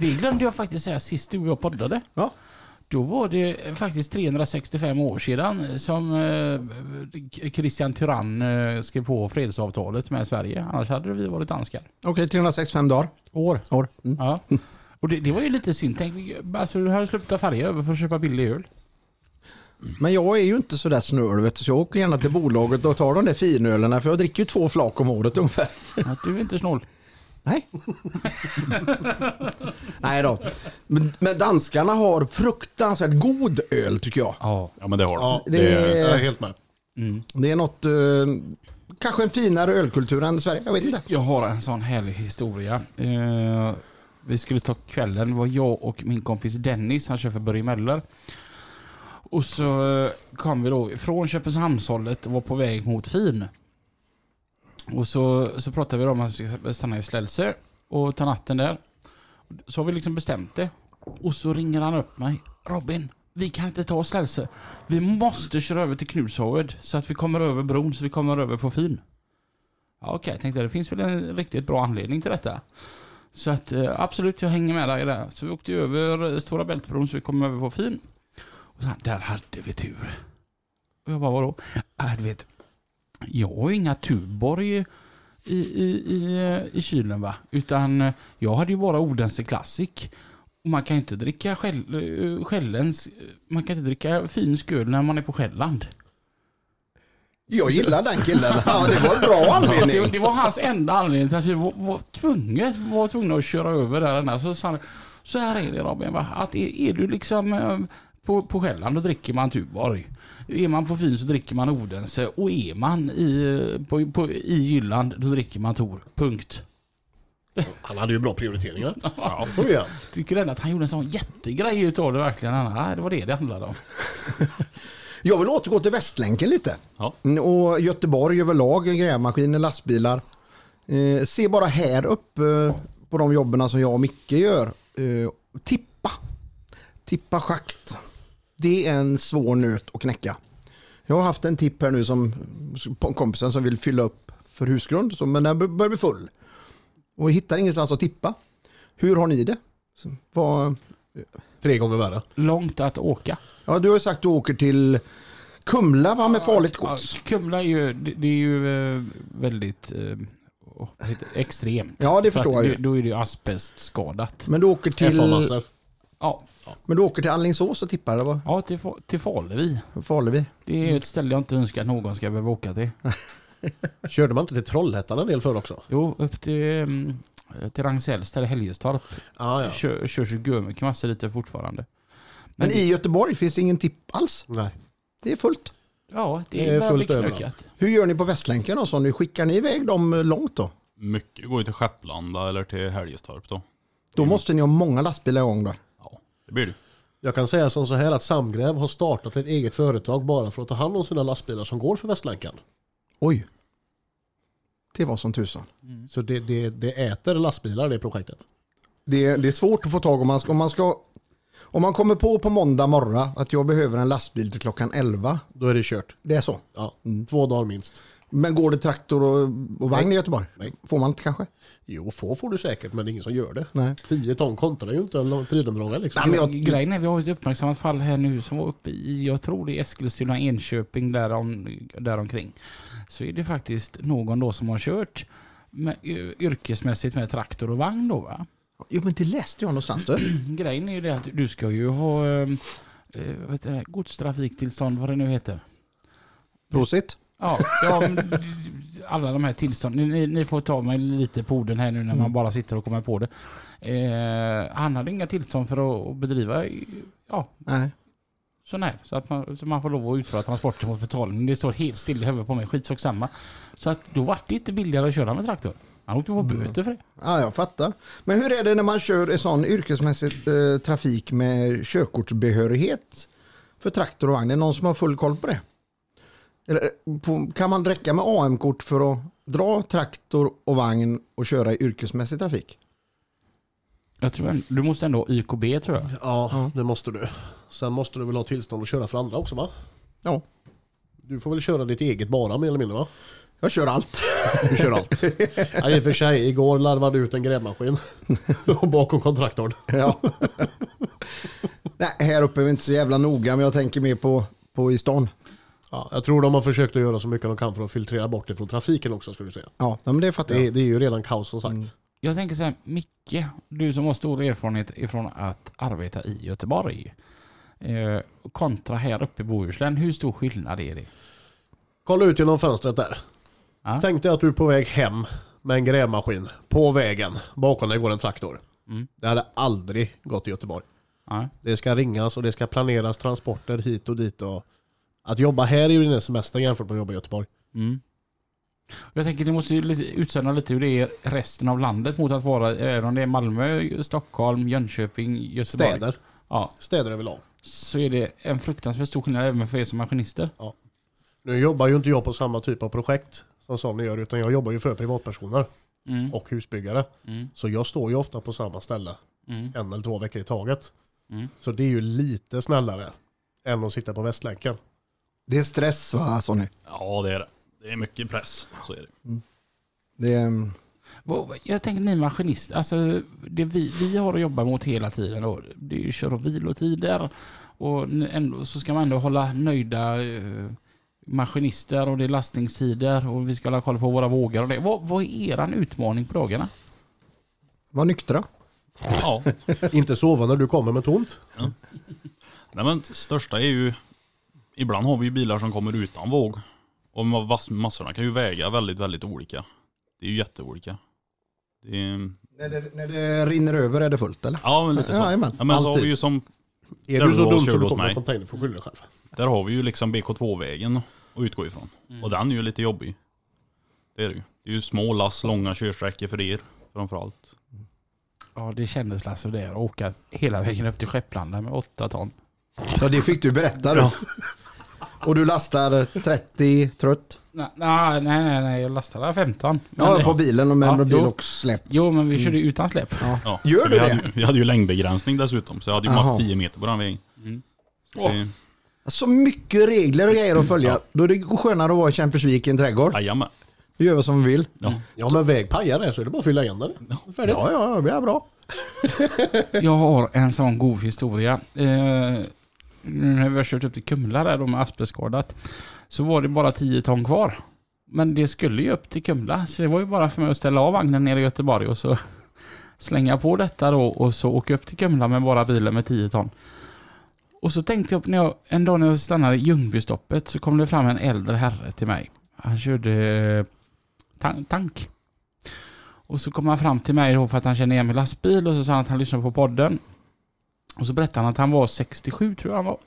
[SPEAKER 2] Det glömde jag faktiskt säga sist du och jag poddade.
[SPEAKER 1] Ja.
[SPEAKER 2] Då var det faktiskt 365 år sedan som eh, Christian Tyrann eh, skrev på fredsavtalet med Sverige. Annars hade vi varit danskar.
[SPEAKER 1] Okej, 365 dagar.
[SPEAKER 2] År.
[SPEAKER 1] År. Mm.
[SPEAKER 2] Ja. Och det, det var ju lite synd. Tänk, alltså, du hade slutat färja över för att köpa billig öl.
[SPEAKER 1] Men jag är ju inte sådär snöl vet du, så jag åker gärna till bolaget och tar de där finölerna för jag dricker ju två flak om året ungefär.
[SPEAKER 2] Att du är inte snål.
[SPEAKER 1] Nej. Nej då. Men, men danskarna har fruktansvärt god öl tycker jag.
[SPEAKER 2] Ja.
[SPEAKER 3] Ja men det har de.
[SPEAKER 4] Ja,
[SPEAKER 1] Det-
[SPEAKER 3] det är,
[SPEAKER 4] Jag är helt med.
[SPEAKER 1] Det är något, eh, kanske en finare ölkultur än Sverige, jag vet inte.
[SPEAKER 2] Jag har en sån härlig historia. Eh, vi skulle ta kvällen. Det var jag och min kompis Dennis. Han kör för Börje Möller. Och så eh, kom vi då från Köpenhamnshållet och var på väg mot Fin. Och så, så pratade vi om att vi ska stanna i Slälse och ta natten där. Så har vi liksom bestämt det. Och så ringer han upp mig. Robin, vi kan inte ta Slälse. Vi måste köra över till Knutshowed så att vi kommer över bron så vi kommer över på Fin. Ja, Okej, tänkte jag. Det finns väl en riktigt bra anledning till detta. Så att eh, absolut, jag hänger med dig där. Så vi åkte ju över eh, Stora Bältbron så vi kom över på Fin. Och sen, där hade vi tur. Och jag bara, vadå? Äh, du vet, jag har ju inga Tuborg i, i, i, eh, i kylen va? Utan eh, jag hade ju bara Odense Classic. Och man kan ju inte dricka skäll, eh, skällens, man kan inte dricka finsk öl när man är på Själland.
[SPEAKER 1] Jag gillar den killen. Ja, det var en bra
[SPEAKER 2] Det,
[SPEAKER 1] anledning.
[SPEAKER 2] det var hans enda anledning till att vi var, var, tvunget, var tvungna att köra över där. ända. Så sa han, så här är det Robin, va? att är, är du liksom eh, på, på Själland då dricker man Tuborg. Är man på Fyn så dricker man Odense och är man i, eh, på, på, i Jylland då dricker man Tor. Punkt.
[SPEAKER 4] Han hade ju bra prioriteringar. Ja, får vi göra.
[SPEAKER 2] Tycker ändå att han gjorde en sån jättegrej utav det verkligen. Han, nej, det var det det handlade om.
[SPEAKER 1] Jag vill återgå till Västlänken lite.
[SPEAKER 3] ja.
[SPEAKER 1] Mm, Och Göteborg överlag, grävmaskiner, lastbilar. Eh, se bara här uppe eh, på de jobben som jag och Micke gör. Eh, tippa. Tippa schakt. Det är en svår nöt att knäcka. Jag har haft en tipp här nu som på kompisen som vill fylla upp för husgrund, så, men den bör- börjar bli full. Och hittar ingenstans att tippa. Hur har ni det? Så, vad,
[SPEAKER 4] Tre gånger värre.
[SPEAKER 2] Långt att åka.
[SPEAKER 1] ja, du har ju sagt att du åker till Kumla va, med farligt gods.
[SPEAKER 2] Ja, Kumla är ju, det, det är ju eh, väldigt eh, åh, vad heter det? extremt.
[SPEAKER 1] Ja, det
[SPEAKER 2] För att
[SPEAKER 1] förstår jag ju.
[SPEAKER 2] det- Då är det ju asbestskadat.
[SPEAKER 1] Men du åker till...
[SPEAKER 4] FA-massor.
[SPEAKER 2] Ja,
[SPEAKER 1] Men du åker till Alingsås och tippar eller vad?
[SPEAKER 2] ja till, Fa- till Faluvi.
[SPEAKER 1] Farlig vi?
[SPEAKER 2] Det är ju ett ställe jag inte önskar att någon ska behöva åka till.
[SPEAKER 4] Körde man inte till Trollhättan en del förr också?
[SPEAKER 2] Jo, upp till, mm, till Ragn-Sells, där i Helgestorp.
[SPEAKER 4] Ah, ja.
[SPEAKER 2] Kör, körs ju gömycket massor lite fortfarande.
[SPEAKER 1] Men i Göteborg finns det ingen tipp alls.
[SPEAKER 4] Nej.
[SPEAKER 1] Det är fullt.
[SPEAKER 2] Ja, det,
[SPEAKER 4] Det är
[SPEAKER 2] är
[SPEAKER 4] fullt
[SPEAKER 2] fullt
[SPEAKER 4] överallt.
[SPEAKER 2] knökat.
[SPEAKER 1] Hur gör ni på Västlänken då? Så nu skickar ni iväg dem långt då?
[SPEAKER 3] Mycket går ju till Skepplanda eller till Helgestorp då.
[SPEAKER 1] Då
[SPEAKER 4] Mm.
[SPEAKER 1] måste ni ha många lastbilar igång där.
[SPEAKER 3] Ja, det blir det.
[SPEAKER 4] Jag kan säga som så här att Samgräv har startat ett eget företag bara för att ta hand om sina lastbilar som går för Västlänken.
[SPEAKER 1] Oj. Det var som tusan.
[SPEAKER 4] Så det, det, det äter lastbilar det projektet.
[SPEAKER 1] Det, det är svårt att få tag om man ska... Om man, ska, om man kommer på på måndag morgon att jag behöver en lastbil till klockan 11.
[SPEAKER 4] Då är det kört.
[SPEAKER 1] Det är så.
[SPEAKER 4] Ja, Två dagar minst.
[SPEAKER 1] Men går det traktor och, och vagn i Göteborg?
[SPEAKER 4] Nej.
[SPEAKER 1] Får man inte kanske?
[SPEAKER 4] Jo, få får du säkert men det är ingen som gör det.
[SPEAKER 1] Nej.
[SPEAKER 4] 10 ton kontrar ju inte en tridenbråga liksom.
[SPEAKER 1] Nej, men jag-
[SPEAKER 2] Grejen är vi har ett uppmärksammat fall här nu som var uppe i, jag tror det är Eskilstuna, Enköping därom, däromkring. Så är det faktiskt någon då som har kört med, y- yrkesmässigt med traktor och vagn då va.
[SPEAKER 1] Jo men det läste jag någonstans du.
[SPEAKER 2] Grejen är ju det att du ska ju ha eh, eh, vad heter det, godstrafiktillstånd, vad det nu heter.
[SPEAKER 1] Prosit.
[SPEAKER 2] Ja, ja men alla de här tillstånden. Ni, ni får ta mig lite på orden här nu när
[SPEAKER 1] Mm.
[SPEAKER 2] man bara sitter och kommer på det. Eh, han hade inga tillstånd för att, att bedriva eh, ja,
[SPEAKER 1] Nej.
[SPEAKER 2] sån här. Så att man, så man får lov att utföra transporter mot betalning. Det står helt still i huvudet på mig. Skitsak samma. Så att då vart det inte billigare att köra med traktor. Han åkte
[SPEAKER 4] Mm.
[SPEAKER 2] på böter för det.
[SPEAKER 1] Ja, jag fattar. Men hur är det när man kör i sån yrkesmässig eh, trafik med körkortsbehörighet för traktor och vagn? Är det någon som har full koll på det? Eller, eh, på, kan man räcka med AM-kort för att dra traktor och vagn och köra i yrkesmässig trafik?
[SPEAKER 2] Jag tror ändå- du måste ändå ha YKB tror jag.
[SPEAKER 4] Ja, det måste du. Sen måste du väl ha tillstånd att köra för andra också va?
[SPEAKER 1] Ja,
[SPEAKER 4] Du får väl köra ditt eget bara mer eller mindre va?
[SPEAKER 1] jag kör allt.
[SPEAKER 4] Du kör allt. ja, I och för sig, igår larvade du ut en grävmaskin. Och bakom kontraktorn.
[SPEAKER 1] Ja. Nej, här uppe är vi inte så jävla noga, men jag tänker mer på, på i stan.
[SPEAKER 4] Ja, jag tror de har försökt att göra så mycket de kan för att filtrera bort det från trafiken också skulle du säga.
[SPEAKER 1] Ja, men det fattar
[SPEAKER 4] Det,
[SPEAKER 1] jag.
[SPEAKER 4] är- det är ju redan kaos som sagt.
[SPEAKER 2] Jag tänker så här, Micke, du som har stor erfarenhet ifrån att arbeta i Göteborg. Eh, kontra här uppe i Bohuslän, hur stor skillnad är det?
[SPEAKER 4] Kolla ut genom fönstret där.
[SPEAKER 2] Ja.
[SPEAKER 4] Tänk dig att du är på väg hem med en grävmaskin. På vägen. Bakom dig går en traktor.
[SPEAKER 2] Mm.
[SPEAKER 4] Det hade aldrig gått i Göteborg.
[SPEAKER 2] Ja.
[SPEAKER 4] Det ska ringas och det ska planeras transporter hit och dit. Och att jobba här är ju din semester jämfört med att jobba i Göteborg.
[SPEAKER 2] mm. Jag tänker ni måste ju lite- utsända lite hur det är resten av landet mot att vara, även om det är Malmö, Stockholm, Jönköping, Göteborg.
[SPEAKER 4] Städer.
[SPEAKER 2] Ja,
[SPEAKER 4] Städer överlag.
[SPEAKER 2] så är det en fruktansvärt stor skillnad även för er som maskinister.
[SPEAKER 4] Nu jobbar ju inte jag på samma typ av projekt som Sonny gör utan jag jobbar ju för privatpersoner
[SPEAKER 2] Mm.
[SPEAKER 4] och husbyggare.
[SPEAKER 2] Mm.
[SPEAKER 4] Så jag står ju ofta på samma ställe
[SPEAKER 2] Mm.
[SPEAKER 4] en eller två veckor i taget.
[SPEAKER 2] Mm.
[SPEAKER 4] Så det är ju lite snällare än att sitta på Västlänken.
[SPEAKER 1] Det är stress va, Sonny?
[SPEAKER 3] Ja det är det. Det är mycket press. Så är det.
[SPEAKER 1] Det är, mm,
[SPEAKER 2] Vad- Jag tänker ni maskinister, alltså det vi, vi har att jobba mot hela tiden då, det är ju kör och vilotider och n- ändå, så ska man ändå hålla nöjda eh, maskinister och det är lastningstider och vi ska hålla koll på våra vågar och det. Vad, vad är eran utmaning på dagarna?
[SPEAKER 1] var nyktra.
[SPEAKER 3] Ja.
[SPEAKER 4] inte sova när du kommer med tomt.
[SPEAKER 3] Nej men största är ju, ibland har vi ju bilar som kommer utan våg. Och ma- vass- massorna kan ju väga väldigt, väldigt olika. Det är ju jätteolika. Det är,
[SPEAKER 1] När det, när det rinner över är det fullt eller?
[SPEAKER 3] ja men lite så.
[SPEAKER 1] Ja, jajamän.
[SPEAKER 3] Ja, men så har
[SPEAKER 1] Alltid.
[SPEAKER 3] vi ju som,
[SPEAKER 4] Är
[SPEAKER 3] Där
[SPEAKER 4] du
[SPEAKER 3] du
[SPEAKER 4] så
[SPEAKER 3] var
[SPEAKER 4] dum
[SPEAKER 3] och
[SPEAKER 4] så
[SPEAKER 3] körde
[SPEAKER 4] du
[SPEAKER 3] åt
[SPEAKER 4] kommer med
[SPEAKER 3] mig.
[SPEAKER 4] container får skylla dig själv.
[SPEAKER 3] där har vi ju liksom BK2-vägen att utgå ifrån. Och den är ju lite jobbig. Det är det ju. Det är ju små lass, långa körsträckor för er framförallt.
[SPEAKER 2] Ja, det kändes Lasse det att åka hela vägen upp till Skepplanda med 8 ton.
[SPEAKER 1] Ja, det fick du berätta då. Och du lastar 30 trött?
[SPEAKER 2] Nej, nej, nej, nej jag lastade 15. Men
[SPEAKER 1] Ja,
[SPEAKER 2] det-
[SPEAKER 1] på bilen och med
[SPEAKER 2] Ja,
[SPEAKER 1] ja, bil
[SPEAKER 2] jo.
[SPEAKER 1] och släpp.
[SPEAKER 2] Jo, men vi körde ju utan släp.
[SPEAKER 3] Ja,
[SPEAKER 1] Gör
[SPEAKER 3] för
[SPEAKER 1] du
[SPEAKER 3] vi
[SPEAKER 1] det?
[SPEAKER 3] Hade, vi hade ju längdbegränsning dessutom, så jag hade ju
[SPEAKER 1] Aha.
[SPEAKER 3] max 10 meter på den vägen. Så det-
[SPEAKER 1] Så mycket regler och grejer att följa. Då är det skönare att vara i Kämpersvik i en trädgård.
[SPEAKER 3] Jajamän.
[SPEAKER 1] Du gör vi som vi vill.
[SPEAKER 4] Ja men väg pajar där så är det bara att fylla igen den. Färdigt.
[SPEAKER 1] Ja, ja, ja, det är bra.
[SPEAKER 2] Jag har en sån god historia. Eh, nu när vi har kört upp till Kumla där då med asbestskadat. Så var det bara 10 ton kvar. Men det skulle ju upp till Kumla. Så det var ju bara för mig att ställa av vagnen nere i Göteborg och så slänga på detta då och så åka upp till Kumla med bara bilen med 10 ton. Och så tänkte jag, när jag en dag när jag stannade i Ljungbystoppet så kom det fram en äldre herre till mig. Han körde eh, tan- tank. Och så kom han fram till mig då för att han kände igen min lastbil och så sa han att han lyssnade på podden. Och så berättade han att han var 67 tror jag han var.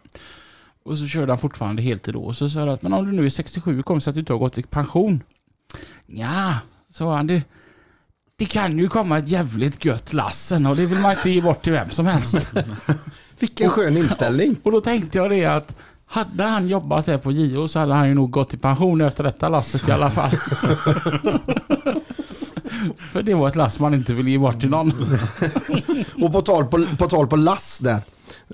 [SPEAKER 2] Och så körde han fortfarande heltid då. Och så sa jag att men om du nu är 67, hur kommer det sig att du inte har gått i pension? Ja, sa han. Det, det kan ju komma ett jävligt gött lassen och det vill man inte ge bort till vem som helst.
[SPEAKER 1] Vilken skön inställning.
[SPEAKER 2] Och då tänkte jag det att hade han jobbat här på JO så hade han ju nog gått i pension efter detta lasset i alla fall. För det var ett lass man inte ville ge bort till någon.
[SPEAKER 1] Och på tal på, på, tal på lass där.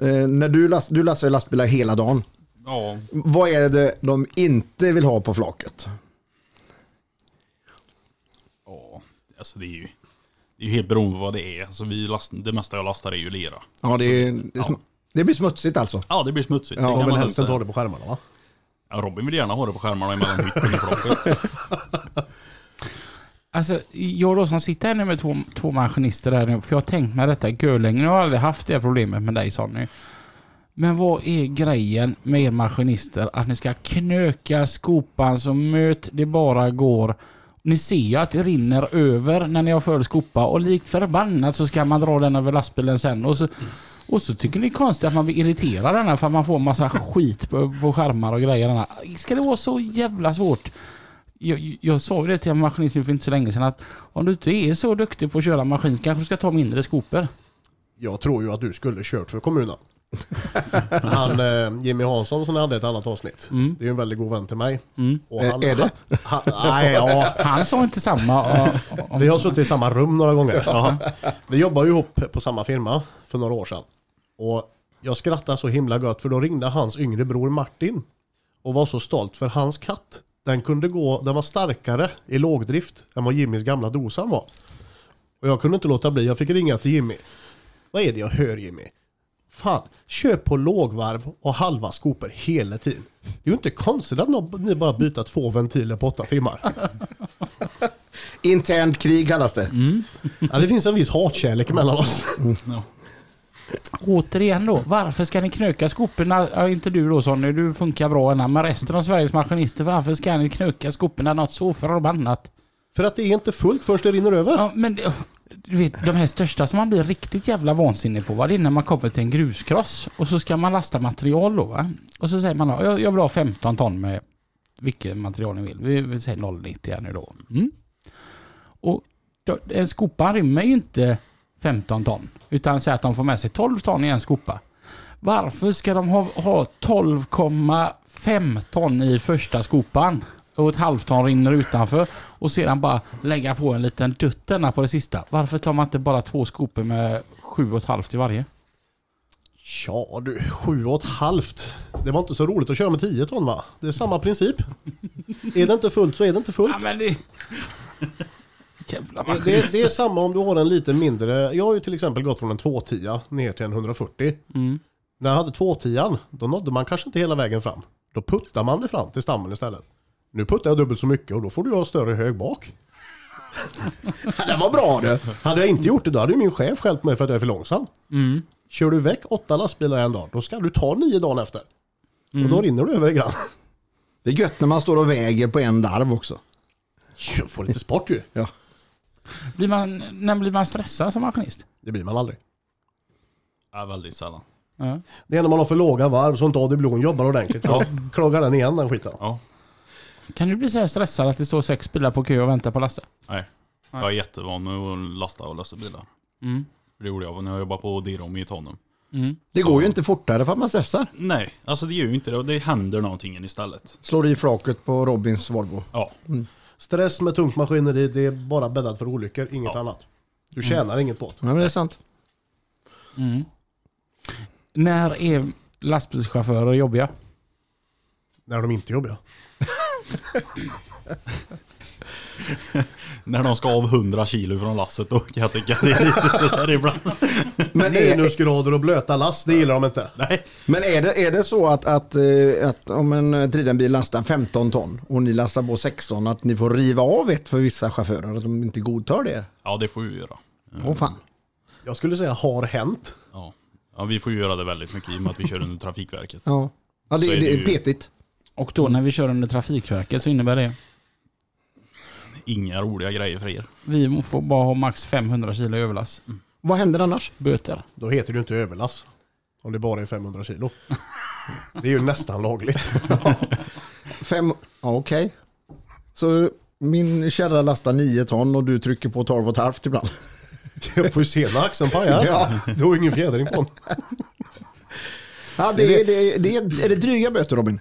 [SPEAKER 1] Eh, när du, last, du lastar ju lastbilar hela dagen.
[SPEAKER 3] Ja,
[SPEAKER 1] Vad är det de inte vill ha på flaket?
[SPEAKER 3] ja. Alltså det är ju, det är ju helt beroende på vad det är. Alltså vi last, det mesta jag lastar är ju lera.
[SPEAKER 1] Ja, det, är- det, är sm- det blir smutsigt alltså.
[SPEAKER 3] Ja, det blir smutsigt.
[SPEAKER 1] Ja,
[SPEAKER 3] det
[SPEAKER 4] Ja,
[SPEAKER 3] kan
[SPEAKER 4] men
[SPEAKER 3] man
[SPEAKER 4] hälften
[SPEAKER 3] inte-
[SPEAKER 4] tar det på skärmarna va?
[SPEAKER 3] Ja, Robin vill gärna ha det på skärmarna emellan hytten och flocket.
[SPEAKER 2] Alltså, jag då som sitter här nu med två, två maskinister här nu, för jag har tänkt mig detta görlänge. Jag har aldrig haft det här problemet med dig Sonny. Men vad är grejen med er maskinister? Att ni ska knöka skopan så möt det bara går. Ni ser ju att det rinner över när ni har full skopa och likt förbannat så ska man dra den över lastbilen sen. Och så, och så tycker ni det är konstigt att man vill irritera den här för att man får massa skit på, på skärmar och grejer. den här. Ska det vara så jävla svårt? jag, jag sa ju det till en maskinist för inte så länge sedan att om du inte är så duktig på att köra maskin så kanske du ska ta mindre skopor.
[SPEAKER 4] Jag tror ju att du skulle kört för kommunen. Han, eh, Jimmy Hansson som hade ett annat avsnitt.
[SPEAKER 2] Mm.
[SPEAKER 4] Det är ju en väldigt god vän till mig. Och han,
[SPEAKER 1] Ä- är det?
[SPEAKER 4] Han, han, nej, ja.
[SPEAKER 2] Han sa inte samma. och- och-
[SPEAKER 4] Vi har suttit i samma rum några gånger. Vi jobbade ju ihop på samma firma för några år sedan. Och jag skrattade så himla gött för då ringde hans yngre bror Martin och var så stolt för hans katt. Den kunde gå, den var starkare i lågdrift än vad Jimmys gamla dosa var. Och jag kunde inte låta bli, jag fick ringa till Jimmy. Vad är det jag hör Jimmy? Fan, köp på lågvarv och halva skopor hela tiden. Det är ju inte konstigt att nå- ni bara byter två ventiler på åtta timmar.
[SPEAKER 1] Internt krig kallas det.
[SPEAKER 4] Ja, det finns en viss hatkärlek mellan oss.
[SPEAKER 2] Återigen då, varför ska ni knöka skoporna? Ja, inte du då Sonny, du funkar bra ena, men resten av Sveriges maskinister, varför ska ni knöka skoporna något så förbannat?
[SPEAKER 4] För att det är inte fullt först det rinner över.
[SPEAKER 2] Ja, men det- du vet, de här största som man blir riktigt jävla vansinnig på, va? det är när man kommer till en gruskross och så ska man lasta material då. Va? Och så säger man, ja, jag jag vill ha 15 ton med vilket material ni vill. Vi, vi säger 0,90 här nu då. Mm. Och då, en skopa rymmer ju inte 15 ton, utan säg att de får med sig 12 ton i en skopa. Varför ska de ha, ha 12,5 ton i första skopan och ett halvt ton rinner utanför och sedan bara lägga på en liten dutterna på det sista? Varför tar man inte bara två skopor med 7,5 i varje?
[SPEAKER 4] Ja du, sju och ett halvt. Det var inte så roligt att köra med 10 ton va? Det är samma princip. är det inte fullt så är det inte fullt.
[SPEAKER 2] Ja, men det... Jävla
[SPEAKER 4] Det,
[SPEAKER 2] maskin.
[SPEAKER 4] det, det är samma om du har en lite mindre. Jag har ju till exempel gått från en 210 ner till en 140. När jag hade 210 då nådde man kanske inte hela vägen fram. Då puttar man det fram till stammen istället. Nu puttar jag dubbelt så mycket och då får du ha större hög bak.
[SPEAKER 1] Det var bra du.
[SPEAKER 4] Hade jag inte gjort det då hade ju min chef skällt mig för att jag är för långsam. Kör du väck åtta lastbilar en dag, då ska du ta nio dagen efter. Och då rinner du över i grann.
[SPEAKER 1] Det är gött när man står och väger på en darv också.
[SPEAKER 4] Du får lite sport ju.
[SPEAKER 1] Ja.
[SPEAKER 2] Blir man, när blir man stressad som maskinist?
[SPEAKER 4] Det blir man aldrig.
[SPEAKER 3] Ja, väldigt sällan.
[SPEAKER 2] Ja.
[SPEAKER 4] Det är när man har för låga varv så inte AD-blon jobbar ordentligt. Då kloggar den igen den skiten.
[SPEAKER 3] Ja.
[SPEAKER 2] Kan du bli så här stressad att det står sex bilar på kö och väntar på att lasta?
[SPEAKER 3] Nej. Jag är jättevan med att lasta och lösa bilar.
[SPEAKER 2] Mm.
[SPEAKER 3] Det gjorde jag när jag jobbade på Dirom i Tanum.
[SPEAKER 1] Det går ju inte fortare för att man stressar.
[SPEAKER 3] Nej, alltså det gör ju inte det. Det händer någonting istället.
[SPEAKER 1] Slår i flaket på Robins Volvo.
[SPEAKER 3] Ja.
[SPEAKER 4] Stress med tungt maskineri, det är bara bäddat för olyckor, inget
[SPEAKER 3] Ja. Mm.
[SPEAKER 4] annat. Du tjänar inget på det.
[SPEAKER 1] Ja, men det är sant.
[SPEAKER 2] När är lastbilschaufförer jobbiga?
[SPEAKER 4] När de inte jobbar.
[SPEAKER 3] När de ska av 100 kilo från lasset då kan jag tycka att det är lite sådär ibland.
[SPEAKER 1] Men är,
[SPEAKER 4] Minusgrader och blöta lass, det gillar de inte.
[SPEAKER 3] Nej.
[SPEAKER 1] men är, det, är det så att, att, eh, att om en eh, drivenbil lastar 15 ton och ni lastar på 16 att ni får riva av ett för vissa chaufförer? Att de inte godtar det?
[SPEAKER 3] Ja, det får vi göra.
[SPEAKER 1] Åh fan.
[SPEAKER 4] Jag skulle säga har hänt.
[SPEAKER 3] Ja. ja, vi får ju göra det väldigt mycket i och med att vi kör under Trafikverket.
[SPEAKER 1] Ja, ja det,
[SPEAKER 3] Så är
[SPEAKER 1] det
[SPEAKER 3] det
[SPEAKER 1] är
[SPEAKER 3] ju.
[SPEAKER 1] petigt.
[SPEAKER 2] Och då när vi kör under Trafikverket så innebär det
[SPEAKER 3] Inga roliga grejer för er.
[SPEAKER 2] vi får bara ha max 500 kilo i överlast.
[SPEAKER 1] Vad händer annars?
[SPEAKER 2] Böter.
[SPEAKER 4] Då heter det ju inte överlass. Om det bara är 500 kilo. Det är ju nästan lagligt.
[SPEAKER 1] Fem... Ja, okej. Så min kärra lastar 9 ton och du trycker på 12 och ett halvt ibland.
[SPEAKER 4] Jag får ju se när axeln pajar.
[SPEAKER 1] Ja.
[SPEAKER 4] Du har ju ingen fjädring på den.
[SPEAKER 1] Ja, det, är- det, är- det, är- är det dryga böter Robin?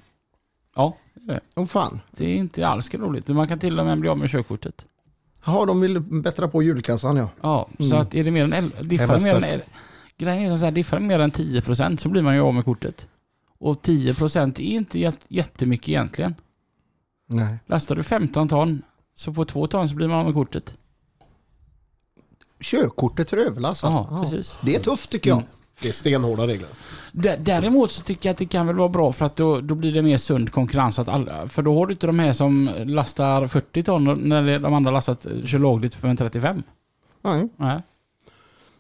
[SPEAKER 2] Ja, det är det.
[SPEAKER 1] Åh fan.
[SPEAKER 2] Det är inte alls roligt. Men man kan till och med bli av med körkortet.
[SPEAKER 1] Jaha, de vill bättra på julkassan ja.
[SPEAKER 2] Ja, så att är Mm. det mer än 11, diffar det mer än el- Grejen är som så här, diffar det mer än 10% så blir man ju av med kortet. Och 10% är inte jätt- jättemycket egentligen.
[SPEAKER 1] Nej.
[SPEAKER 2] Lastar du 15 ton så på 2 ton så blir man av med kortet.
[SPEAKER 1] Körkortet för överlast
[SPEAKER 2] Ja,
[SPEAKER 1] alltså. Ja.
[SPEAKER 2] precis.
[SPEAKER 1] Det är tufft tycker jag.
[SPEAKER 4] Det är stenhårda regler.
[SPEAKER 3] Mm.
[SPEAKER 2] Dä- Däremot så tycker jag att det kan väl vara bra för att då, då blir det mer sund konkurrens. Att alla, för då har du inte de här som lastar 40 ton och när det- de andra lastat eh, kör lagligt för en 35.
[SPEAKER 1] Nej.
[SPEAKER 2] Nej.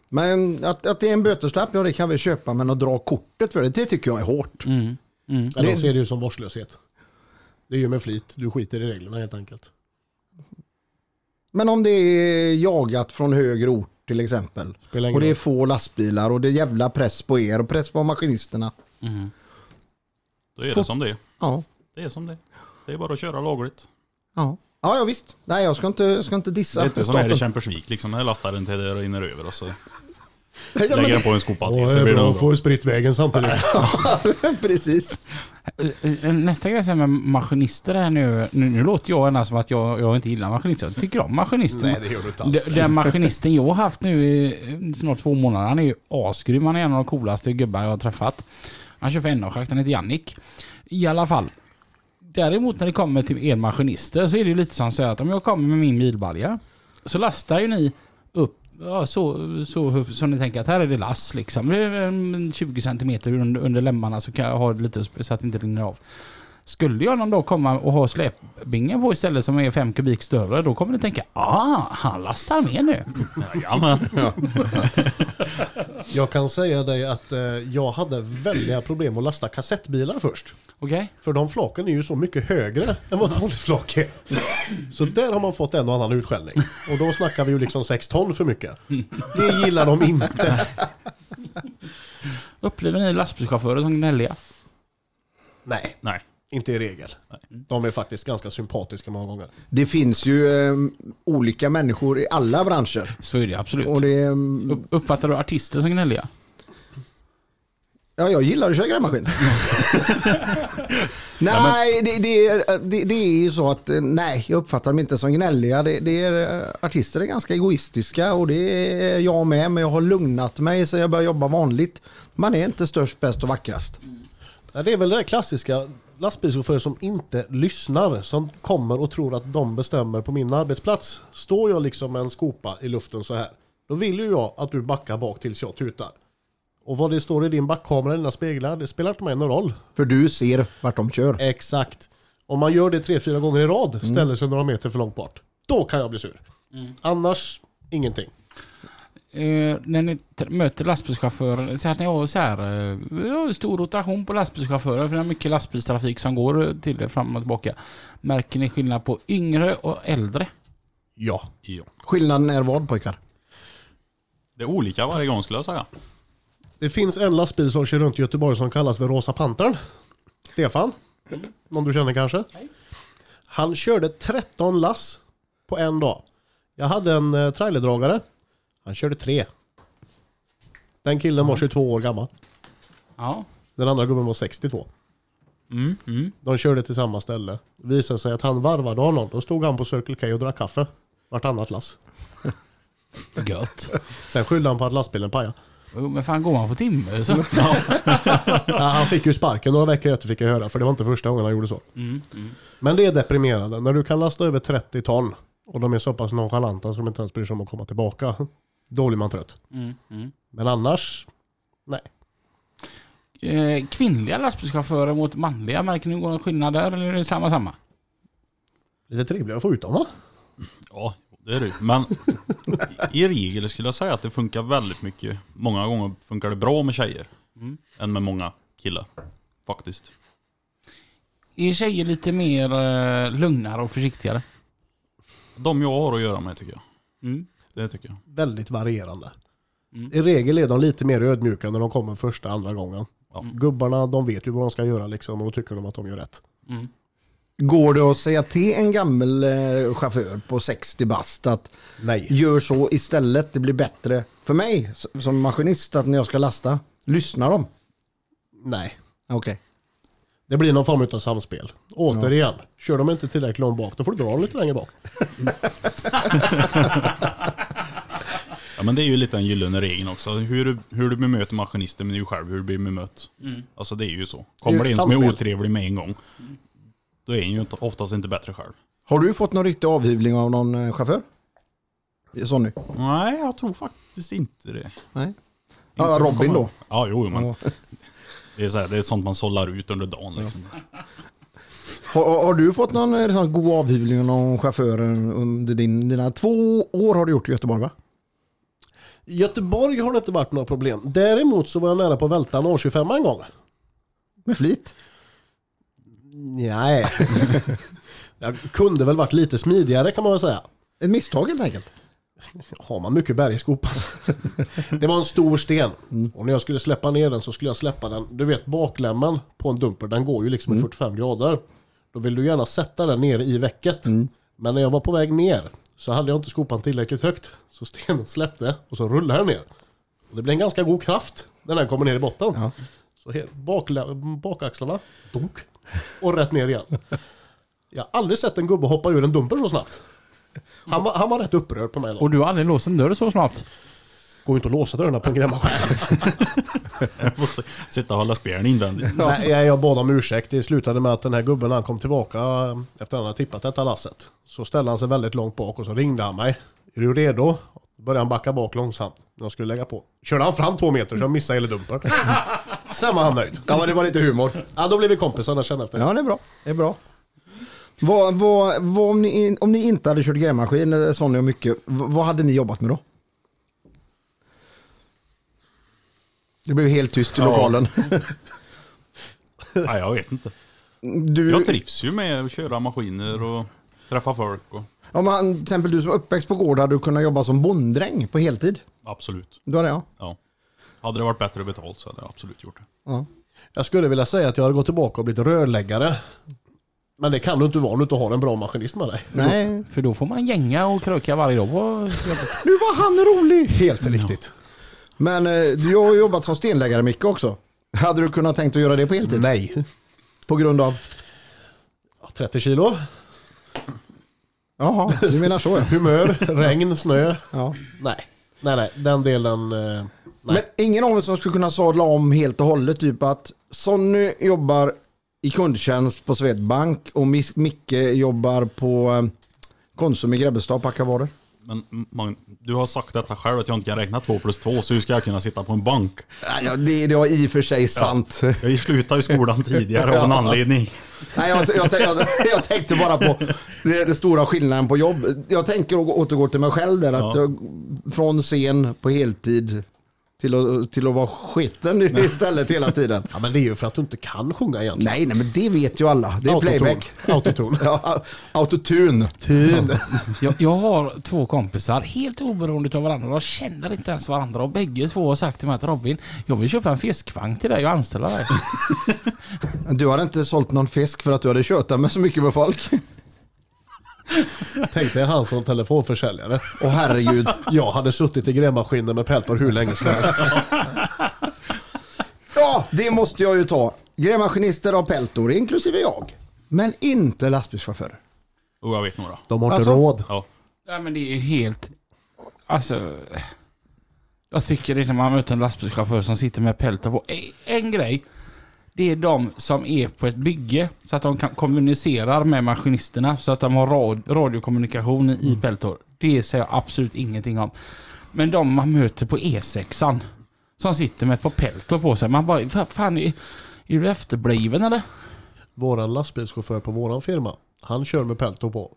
[SPEAKER 1] Men att, att det är en böteslapp, ja det kan vi köpa. Men att dra kortet för det, det tycker jag är hårt.
[SPEAKER 2] Mm. Mm.
[SPEAKER 4] Eller så är det ju som vårdslöshet. Det är ju med flit. Du skiter i reglerna helt enkelt.
[SPEAKER 1] Men om det är jagat från högre ort till exempel.
[SPEAKER 4] Spelar ingen
[SPEAKER 1] Och det är
[SPEAKER 4] roll.
[SPEAKER 1] få lastbilar och det är jävla press på er och press på maskinisterna.
[SPEAKER 3] Då är
[SPEAKER 1] Får-
[SPEAKER 3] det som det är.
[SPEAKER 1] Ja,
[SPEAKER 3] Det är som det är. Det är bara att köra lagligt.
[SPEAKER 1] ja. Ja, ja visst. Nej, jag ska inte, jag ska inte
[SPEAKER 3] Det är
[SPEAKER 1] dissa
[SPEAKER 3] inte som här i
[SPEAKER 1] staten.
[SPEAKER 3] Kämpersvik liksom. Här lastar den till det rinner över och så Lägger den på en skopa till så blir det
[SPEAKER 4] bra,
[SPEAKER 3] nog bra.
[SPEAKER 4] får ju spritt vägen samtidigt.
[SPEAKER 1] Precis.
[SPEAKER 2] Eh, Nästa grej sen med maskinister här nu. Nu, nu låter jag ändå som att jag, jag inte gillar maskinister. Jag tycker om maskinister.
[SPEAKER 4] Nej, det gör du inte
[SPEAKER 2] D-
[SPEAKER 4] alls.
[SPEAKER 2] Den maskinisten jag har haft nu i eh, snart två månader, han är ju asgrym. Han är en av de coolaste gubbar jag har träffat. Han kör för NA-schakt, han heter Jannik. I alla fall. Däremot när det kommer till er maskinister så är det ju lite som så här att om jag kommer med min bilbalja så lastar ju ni upp ja, så, så som ni tänker att här är det lass liksom. Det är, eh, 20 cm under, under lemmarna så kan jag ha det lite sp- så att det inte rinner av. Skulle jag någon dag komma och ha släpbingen på istället som är 5 kubik större, då kommer ni tänka ah, han lastar med nu.
[SPEAKER 3] Jajamän.
[SPEAKER 4] Jag kan säga dig att eh, jag hade väldiga problem att lasta kassettbilar först.
[SPEAKER 2] Okej?
[SPEAKER 4] För de flaken är ju så mycket högre än vad ett vanligt flak är. Så där har man fått en och annan utskällning. Och då snackar vi ju liksom 6 ton för mycket. Det gillar de inte.
[SPEAKER 2] Upplever ni lastbilschaufförer som gnälliga?
[SPEAKER 4] Nej,
[SPEAKER 3] Nej.
[SPEAKER 4] inte i regel. De är faktiskt ganska sympatiska många gånger.
[SPEAKER 1] Det finns ju eh, olika människor i alla branscher.
[SPEAKER 2] Så är det
[SPEAKER 1] Och
[SPEAKER 2] absolut.
[SPEAKER 1] det, eh,
[SPEAKER 2] Upp- Uppfattar du artister som gnälliga?
[SPEAKER 1] ja, jag gillar att köra grävmaskin. nej, det, det, är, det, det är ju så att eh, nej, jag uppfattar dem inte som gnälliga. Det, det är, eh, artister är ganska egoistiska och det är jag med, men jag har lugnat mig så jag börjar jobba vanligt. Man är inte störst, bäst och vackrast.
[SPEAKER 4] Ja, Det är väl det där klassiska lastbilschaufförer som inte lyssnar. Som kommer och tror att de bestämmer på min arbetsplats. Står jag liksom med en skopa i luften så här. Då vill ju jag att du backar bak tills jag tutar. Och vad det står i din backkamera, dina speglar, det spelar inte mig någon roll.
[SPEAKER 1] För du ser vart de kör.
[SPEAKER 4] Exakt. Mm. Om man gör det tre, fyra gånger i rad, ställer sig några meter för långt bort. Då kan jag bli sur. Annars, ingenting.
[SPEAKER 2] Eh, när ni tr- möter lastbilschaufförer, så att ni har så här, eh, vi har ju stor rotation på lastbilschaufförer för det är mycket lastbilstrafik som går eh, till er fram och tillbaka. Märker ni skillnad på yngre och äldre?
[SPEAKER 4] Ja.
[SPEAKER 3] Ja.
[SPEAKER 1] Skillnaden är vad pojkar?
[SPEAKER 3] Det är olika varje gång skulle jag säga.
[SPEAKER 4] Det finns en lastbil som kör runt i Göteborg som kallas för Rosa Pantern. Stefan, någon du känner kanske? Han körde 13 lass på en dag. Jag hade en eh, trailerdragare. Han körde tre. Den killen
[SPEAKER 2] Mm.
[SPEAKER 4] var 22 år gammal.
[SPEAKER 2] Ja.
[SPEAKER 4] Den andra gubben var 62.
[SPEAKER 2] Mm, mm.
[SPEAKER 4] De körde till samma ställe. Visade sig att han varvade honom. Då stod han på Circle K och drack kaffe. Vartannat lass.
[SPEAKER 2] Gött.
[SPEAKER 4] Sen skyllde han på att lastbilen pajade.
[SPEAKER 2] Jo, men fan går man på timme så.
[SPEAKER 4] Ja, han fick ju sparken några veckor efter fick jag höra. För det var inte första gången han gjorde så.
[SPEAKER 2] Mm,
[SPEAKER 4] Men det är deprimerande. När du kan lasta över 30 ton och de är så pass nonchalanta så de inte ens bryr sig om att komma tillbaka. Då blir man trött.
[SPEAKER 2] Mm, mm.
[SPEAKER 4] Men annars, nej.
[SPEAKER 2] Eh, kvinnliga lastbilschaufförer mot manliga, märker ni någon skillnad där eller är det samma samma?
[SPEAKER 4] Lite trevligare att få ut dem va?
[SPEAKER 3] Ja, det är det ju. Men i regel skulle jag säga att det funkar väldigt mycket. Många gånger funkar det bra med tjejer.
[SPEAKER 2] Mm.
[SPEAKER 3] Än med många killar. Faktiskt.
[SPEAKER 2] Är tjejer lite mer eh, lugnare och försiktigare?
[SPEAKER 3] De jag har att göra med tycker jag.
[SPEAKER 2] Mm.
[SPEAKER 3] Det tycker jag.
[SPEAKER 4] Väldigt varierande.
[SPEAKER 2] Mm.
[SPEAKER 4] I regel är de lite mer ödmjuka när de kommer första, andra gången. Mm.
[SPEAKER 3] Ja.
[SPEAKER 4] Gubbarna, de vet ju vad de ska göra liksom och då tycker de att de gör rätt.
[SPEAKER 2] Mm.
[SPEAKER 1] Går det att säga till en gammal eh, chaufför på 60 bast att
[SPEAKER 4] Nej.
[SPEAKER 1] gör så istället, det blir bättre för mig s- som maskinist att när jag ska lasta, lyssnar de?
[SPEAKER 4] Nej.
[SPEAKER 1] Okej.
[SPEAKER 4] Det blir någon form av samspel. Återigen, kör de inte tillräckligt långt bak, då får du dra dem lite längre bak.
[SPEAKER 3] Ja men det är ju lite den gyllene regeln också. Hur, du- hur du bemöter maskinisten men det är ju själv hur du blir bemött. Alltså det är ju så. Kommer det en som är
[SPEAKER 4] samspel.
[SPEAKER 3] otrevlig med en gång. Då är den ju inte- oftast inte bättre själv.
[SPEAKER 1] Har du fått någon riktig avhyvling av någon eh, chaufför? Så nu?
[SPEAKER 3] Nej jag tror faktiskt inte det.
[SPEAKER 1] Nej. Ja, Robin då.
[SPEAKER 3] Ja jo jo, men det är, så här, det är sånt man sållar ut under dagen liksom.
[SPEAKER 1] Har, har har du fått någon eh, sån god avhyvling av någon chaufför eh, under din, dina två år har du gjort i Göteborg va?
[SPEAKER 4] Göteborg har det inte varit några problem. Däremot så var jag nära på att välta en A25 en gång.
[SPEAKER 1] Med flit?
[SPEAKER 4] Nej. jag kunde väl varit lite smidigare kan man väl säga.
[SPEAKER 1] Ett misstag helt enkelt.
[SPEAKER 4] Har man mycket bergskopa? det var en stor sten. Och när jag skulle släppa ner den så skulle jag släppa den, du vet baklämmen på en dumper, den går ju liksom i 45 grader. Då vill du gärna sätta den ner i väcket. Men när jag var på väg ner så hade jag inte skopan tillräckligt högt. Så stenen släppte och så rullade den ner. Och det blir en ganska god kraft när den kommer ner i botten.
[SPEAKER 1] Ja.
[SPEAKER 4] Så he- bakla- bakaxlarna, dunk, och rätt ner igen. Jag har aldrig sett en gubbe hoppa ur en dumper så snabbt. Han var, han var rätt upprörd på mig då.
[SPEAKER 2] Och du har aldrig låst en dörr så snabbt?
[SPEAKER 4] Går ju inte att låsa dörrarna på en grävmaskin.
[SPEAKER 3] Jag måste sitta och hålla spjärn invändigt.
[SPEAKER 4] Nej, jag, jag bad om ursäkt. Det slutade med att den här gubben när han kom tillbaka eh, efter att han hade tippat detta lasset. Så ställde han sig väldigt långt bak och så ringde han mig. Är du redo? Då började han backa bak långsamt när jag skulle lägga på. Körde han fram två meter så jag missade hela dumpen. Sen var han nöjd.
[SPEAKER 1] Ja, men det var lite humor.
[SPEAKER 4] Ja, då blev vi kompisar när jag kände efter det.
[SPEAKER 1] Ja, det är bra. Det är bra. Vad, vad, vad, om, ni, in- om ni inte hade kört grävmaskin, eh, Sonny och mycket, vad, vad hade ni jobbat med då? Det blev helt tyst i lokalen.
[SPEAKER 3] Nej, jag vet inte.
[SPEAKER 1] Du,
[SPEAKER 3] Jag trivs ju med att köra maskiner och träffa folk. Och,
[SPEAKER 1] om man, till exempel du som är uppväxt på gård, hade du kunnat jobba som bonddräng på heltid?
[SPEAKER 3] absolut.
[SPEAKER 1] Då hade jag.
[SPEAKER 3] Ja. Hade det varit bättre betalt så hade jag absolut gjort det.
[SPEAKER 1] Ja.
[SPEAKER 4] Jag skulle vilja säga att jag har gått tillbaka och blivit rörläggare. Men det kan du inte vara om du inte har en bra maskinist med dig.
[SPEAKER 1] Nej,
[SPEAKER 2] För då får man gänga och kröka varje dag. Vad-
[SPEAKER 1] nu var han rolig!
[SPEAKER 4] Helt riktigt.
[SPEAKER 1] Men eh, du har ju jobbat som stenläggare mycket också. Hade du kunnat tänkt att göra det på heltid?
[SPEAKER 4] Nej.
[SPEAKER 1] På grund av?
[SPEAKER 4] Ja, 30 kilo,
[SPEAKER 1] Jaha, du menar så ja.
[SPEAKER 4] humör, regn, snö.
[SPEAKER 1] ja.
[SPEAKER 4] Nej. Nej, nej. Den delen... eh, Nej.
[SPEAKER 1] Men ingen av er som skulle kunna sadla om helt och hållet, typ att Sonny jobbar i kundtjänst på Swedbank och Mis- Micke jobbar på eh, Konsum i Grebbestad, packar varor.
[SPEAKER 3] Men man, du har sagt detta själv att jag inte kan räkna två plus två så hur ska jag kunna sitta på en bank?
[SPEAKER 1] Nej, ja, det, det var i och för sig sant.
[SPEAKER 3] Jag slutade ju skolan tidigare av en anledning.
[SPEAKER 1] Nej, jag, jag, jag, jag tänkte bara på det, det stora skillnaden på jobb. Jag tänker å- återgå till mig själv där, att
[SPEAKER 3] Ja.
[SPEAKER 1] jag, från scen på heltid till att, till att vara skiten istället hela tiden.
[SPEAKER 4] Ja, men det är ju för att du inte kan sjunga egentligen.
[SPEAKER 1] Nej, nej, men det vet ju alla. Det är
[SPEAKER 4] Autotune.
[SPEAKER 1] playback.
[SPEAKER 4] Autotune.
[SPEAKER 1] Ja, autotune.
[SPEAKER 2] Jag, jag har två kompisar helt oberoende av varandra. De känner inte ens varandra och bägge två har sagt till mig att Robin, jag vill köpa en fiskvagn till dig och anställa dig.
[SPEAKER 1] Du hade inte sålt någon fisk för att du hade tjötat med så mycket med folk.
[SPEAKER 4] Tänk dig han som telefonförsäljare.
[SPEAKER 1] Åh herregud.
[SPEAKER 4] Jag hade suttit i grävmaskinen med peltor hur länge som helst.
[SPEAKER 1] Ja, det måste jag ju ta. Grävmaskinister har peltor, inklusive jag. Men inte lastbilschaufförer.
[SPEAKER 3] Och jag vet några.
[SPEAKER 4] De har inte
[SPEAKER 1] Alltså-
[SPEAKER 4] råd.
[SPEAKER 3] Ja.
[SPEAKER 2] Nej men det är ju helt... Alltså... Jag tycker det när man möter en lastbilschaufför som sitter med peltor på. En- En grej. Det är de som är på ett bygge så att de kan kommunicera med maskinisterna så att de har rad- radiokommunikation i peltor. Det säger jag absolut ingenting om. Men de man möter på E6an som sitter med ett par peltor på sig. Man bara, vad fan är, är du efterbliven eller?
[SPEAKER 4] Våran lastbilschaufför på våran firma, han kör med peltor på.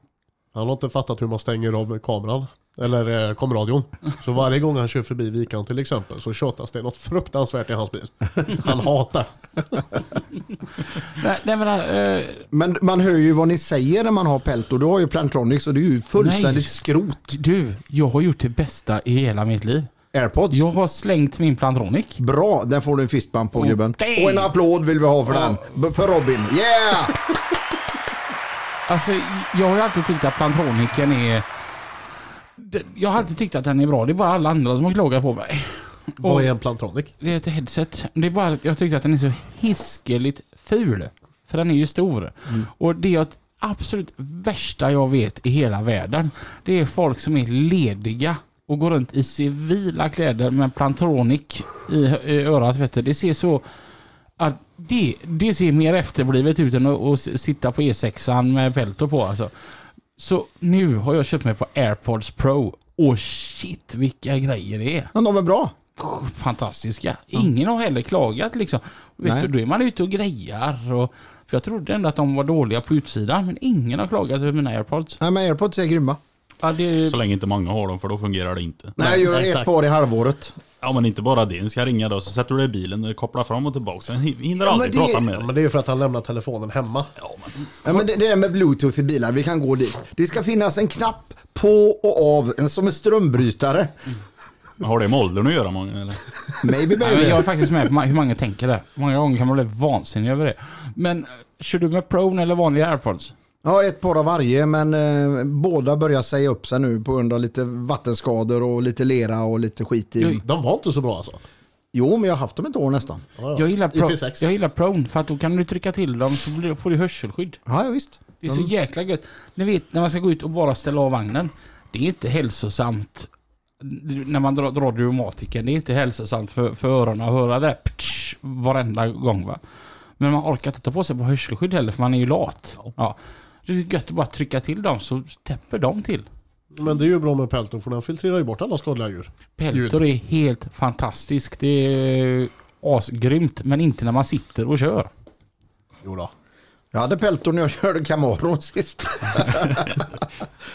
[SPEAKER 4] Han har inte fattat hur man stänger av kameran. Eller eh, komradion. Så varje gång han kör förbi Vikan till exempel så tjatas det något fruktansvärt i hans bil. Han hatar.
[SPEAKER 2] Nej, nej men... eh,
[SPEAKER 1] Men man hör ju vad ni säger när man har peltor. Du har ju Plantronics och det är ju fullständigt
[SPEAKER 2] Nej.
[SPEAKER 1] skrot.
[SPEAKER 2] du, jag har gjort det bästa i hela mitt liv.
[SPEAKER 1] Airpods.
[SPEAKER 2] Jag har slängt min Plantronic.
[SPEAKER 1] Bra, den får du en fistbump på gubben.
[SPEAKER 2] damn.
[SPEAKER 1] Och en applåd vill vi ha för den. B- För Robin. Yeah!
[SPEAKER 2] Alltså, jag har ju alltid tyckt att Plantronicen är... Den- Jag har alltid tyckt att den är bra. Det är bara alla andra som har klagat på mig.
[SPEAKER 4] Vad är en plantronic?
[SPEAKER 2] Det är ett headset. Det är bara att jag tyckte att den är så hiskeligt ful. För den är ju stor. Och det är att absolut värsta jag vet i hela världen. Det är folk som är lediga och går runt i civila kläder med Plantronic i, i örat. Vet du. Det ser så... Att det, det ser mer efterblivet ut än att, att s- sitta på E6an med peltor på. Alltså. Så nu har jag köpt mig på AirPods Pro. Och shit vilka grejer det är
[SPEAKER 1] Men de är bra.
[SPEAKER 2] fantastiska. Ingen har heller klagat liksom. Vet
[SPEAKER 1] Nej.
[SPEAKER 2] du, då är man ute och grejar. Och, för jag trodde ändå att de var dåliga på utsidan, men ingen har klagat över mina airpods.
[SPEAKER 1] Nej, men airpods är grymma.
[SPEAKER 2] Ja, det,
[SPEAKER 3] Så länge inte många har dem för då fungerar det inte.
[SPEAKER 1] Nej, jag gör ett
[SPEAKER 4] exakt.
[SPEAKER 1] par i halvåret.
[SPEAKER 3] Ja men inte bara det, den ska ringa då så sätter du dig i bilen och kopplar fram och tillbaka. Sen hinner
[SPEAKER 1] men
[SPEAKER 3] aldrig
[SPEAKER 1] det-
[SPEAKER 3] prata med
[SPEAKER 4] Ja,
[SPEAKER 3] dig.
[SPEAKER 4] men det är ju för att han lämnar telefonen hemma.
[SPEAKER 1] Ja, men det, det där med bluetooth i bilar, vi kan gå dit. Det ska finnas en knapp på och av, en som en strömbrytare.
[SPEAKER 3] Men Har det med åldern att göra många eller?
[SPEAKER 1] Maybe
[SPEAKER 2] nej,
[SPEAKER 1] baby.
[SPEAKER 2] men jag är faktiskt med på ma- hur många tänker det. Många gånger kan man bli vansinnig över det. Men eh, kör du med Pro eller vanliga airpods?
[SPEAKER 1] Jag har ett par av varje, men eh, båda börjar säga upp sig nu på grund av lite vattenskador och lite lera och lite skit i.
[SPEAKER 2] Oj.
[SPEAKER 4] De var inte så bra alltså.
[SPEAKER 1] Jo, men jag har haft dem ett år nästan.
[SPEAKER 4] Ja, ja.
[SPEAKER 2] Jag gillar, pro,
[SPEAKER 4] IP6.
[SPEAKER 2] jag gillar prone för att då kan du trycka till dem så blir, får du hörselskydd.
[SPEAKER 1] Ja, ja, visst.
[SPEAKER 2] Det är så jäkla gött. Ni vet när man ska gå ut och bara ställa av vagnen. Det är inte hälsosamt när man drar, drar reumatiken. Det är inte hälsosamt för, för öronen att höra det där ptsch, varenda gång. Va? Men man orkar inte ta på sig på hörselskydd heller för man är ju lat. Ja. Det är ju gött att bara trycka till dem så täpper de till.
[SPEAKER 4] Men det är ju bra med pelton för den filtrerar ju bort alla skadliga djur.
[SPEAKER 2] Peltor är helt fantastiskt. Det är asgrymt men inte när man sitter och kör.
[SPEAKER 4] Jo då.
[SPEAKER 1] Jag hade peltor när jag körde Camaron sist.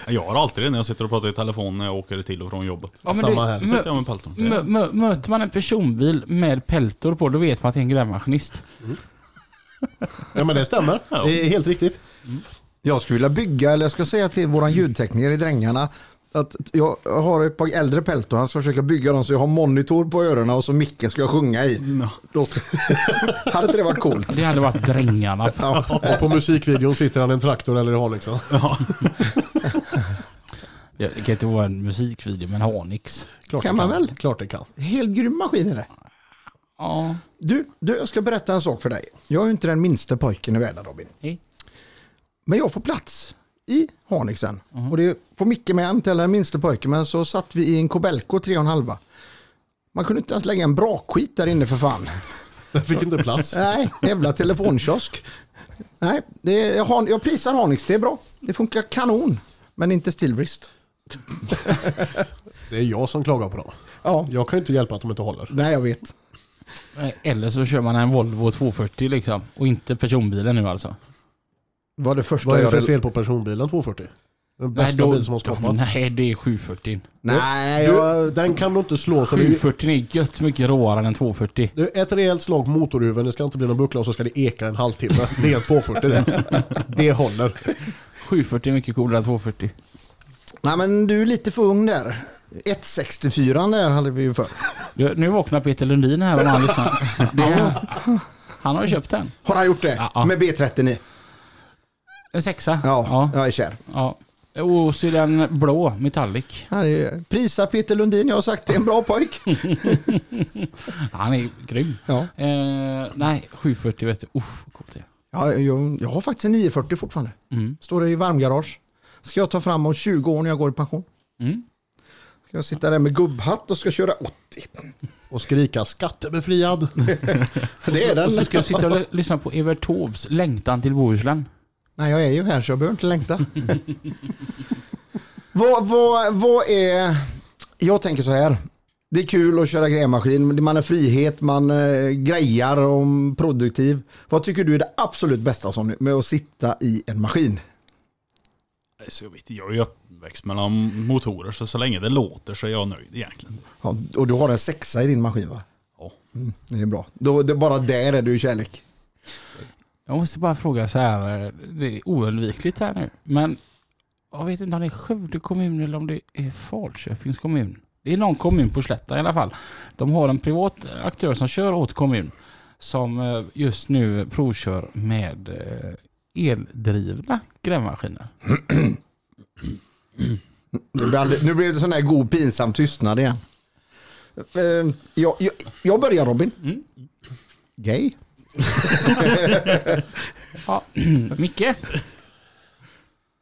[SPEAKER 3] Jag har alltid det när jag sitter och pratar i telefon när jag åker till och från jobbet.
[SPEAKER 2] Ja, men
[SPEAKER 4] Samma
[SPEAKER 2] det-
[SPEAKER 4] här.
[SPEAKER 3] Så
[SPEAKER 2] mö-
[SPEAKER 3] sitter jag med peltorn.
[SPEAKER 2] Mö, mö, möter man en personbil med peltor på, då vet man att det är en grävmaskinist.
[SPEAKER 4] Ja men det stämmer. Det är helt riktigt.
[SPEAKER 1] Jag skulle vilja bygga, eller jag ska säga till våran
[SPEAKER 4] Mm.
[SPEAKER 1] ljudtekniker i Drängarna, att jag har ett par äldre peltor, han ska försöka bygga dem så jag har monitor på öronen och så micken ska jag sjunga i. Då- hade inte det varit coolt?
[SPEAKER 2] Det hade varit drängarna.
[SPEAKER 4] Och på musikvideon sitter han i en traktor eller i Hanixen.
[SPEAKER 2] Det kan inte vara en musikvideo, men Hanix.
[SPEAKER 4] Klart
[SPEAKER 1] Kan
[SPEAKER 4] det
[SPEAKER 1] man väl?
[SPEAKER 4] Klart det kan.
[SPEAKER 1] Helt grym maskin är det.
[SPEAKER 2] Ja.
[SPEAKER 1] Du, du, jag ska berätta en sak för dig. Jag är ju inte den minsta pojken i världen Robin.
[SPEAKER 2] Hej.
[SPEAKER 1] Men jag får plats i Hanixen.
[SPEAKER 4] Mhm.
[SPEAKER 1] Och det är på Micke med, jag är inte heller den minsta pojken, men så satt vi i en Kobelco 3,5. Man kunde inte ens lägga en bra skit där inne för fan.
[SPEAKER 4] Den fick inte plats.
[SPEAKER 1] Nej, jävla telefonkiosk. Nej, det är, jag, har, jag prisar Hanix, det är bra. Det funkar kanon, men inte Stillwrist.
[SPEAKER 4] Det är jag som klagar på dem.
[SPEAKER 1] Ja,
[SPEAKER 4] Jag kan ju inte hjälpa att de inte håller.
[SPEAKER 1] nej jag vet.
[SPEAKER 2] Eh, Eller så kör man en Volvo 240 liksom. Och inte personbilen nu alltså.
[SPEAKER 1] Var det första
[SPEAKER 4] Vad är det för
[SPEAKER 1] jag...
[SPEAKER 4] fel på personbilen 240? Den bästa
[SPEAKER 2] då-
[SPEAKER 4] bil som har skapats.
[SPEAKER 2] Nej, det är 740.
[SPEAKER 1] Nej,
[SPEAKER 4] Du,
[SPEAKER 1] jag...
[SPEAKER 4] den kan du inte slå så det
[SPEAKER 2] 740 är gött mycket råare än 240.
[SPEAKER 4] du, ett rejält slag motorhuven, det ska inte bli någon buckla och så ska det eka en halvtimme. Det är en 240 det. Det håller.
[SPEAKER 2] 740 är mycket coolare än 240.
[SPEAKER 1] Nej, men du är lite för ung där. 164 där hade vi ju förr.
[SPEAKER 2] Du, Nu vaknar Peter Lundin här om han lyssnar.
[SPEAKER 1] Det,
[SPEAKER 2] Han har ju köpt den.
[SPEAKER 1] har han gjort det?
[SPEAKER 2] Ja, ja.
[SPEAKER 1] Med B39?
[SPEAKER 2] En sexa.
[SPEAKER 1] Ja,
[SPEAKER 2] ja.
[SPEAKER 1] jag är kär.
[SPEAKER 2] ja. Och så är den blå, metallic.
[SPEAKER 1] Han är, prisa Peter Lundin, jag har sagt det är en bra pojk.
[SPEAKER 2] Han är grym.
[SPEAKER 1] Ja.
[SPEAKER 2] Eh, nej, 740 vet du. Uff, vad coolt det är.
[SPEAKER 1] Ja, jag, jag har faktiskt en 940 fortfarande.
[SPEAKER 2] Mm.
[SPEAKER 1] Står det i varmgarage. Ska jag ta fram om 20 år när jag går i pension.
[SPEAKER 2] Mm.
[SPEAKER 1] Ska jag sitta där med gubbhatt och ska köra 80.
[SPEAKER 4] Och skrika skattebefriad.
[SPEAKER 1] Det är den.
[SPEAKER 2] Och så ska jag sitta och l- lyssna på Evert Taubes Längtan till Bohuslän.
[SPEAKER 1] Nej, jag är ju här så jag behöver inte längta. vad, vad, vad är... Jag tänker så här. Det är kul att köra grävmaskin. Man är frihet, man eh, grejar och är produktiv. Vad tycker du är det absolut bästa som, med att sitta i en maskin?
[SPEAKER 3] Så jag, vet, inte, jag är ju uppväxt mellan motorer så så länge det låter så är jag nöjd egentligen.
[SPEAKER 1] Ja, och du har en sexa i din maskin va?
[SPEAKER 3] Ja.
[SPEAKER 1] Mm, det är bra. Då, det, bara där är du i kärlek.
[SPEAKER 2] Jag måste bara fråga så här, eh, det är oundvikligt här nu, men jag vet inte om det är Skövde kommun eller om det är Falköpings kommun. Det är någon kommun på slätta i alla fall. De har en privat aktör som kör åt kommun som eh, just nu provkör med eh, eldrivna grävmaskiner.
[SPEAKER 1] Nu blev, aldrig, nu blev det sån här god pinsam tystnad igen. Eh, jag, jag, jag börjar Robin. Gay?
[SPEAKER 2] Ja, Micke?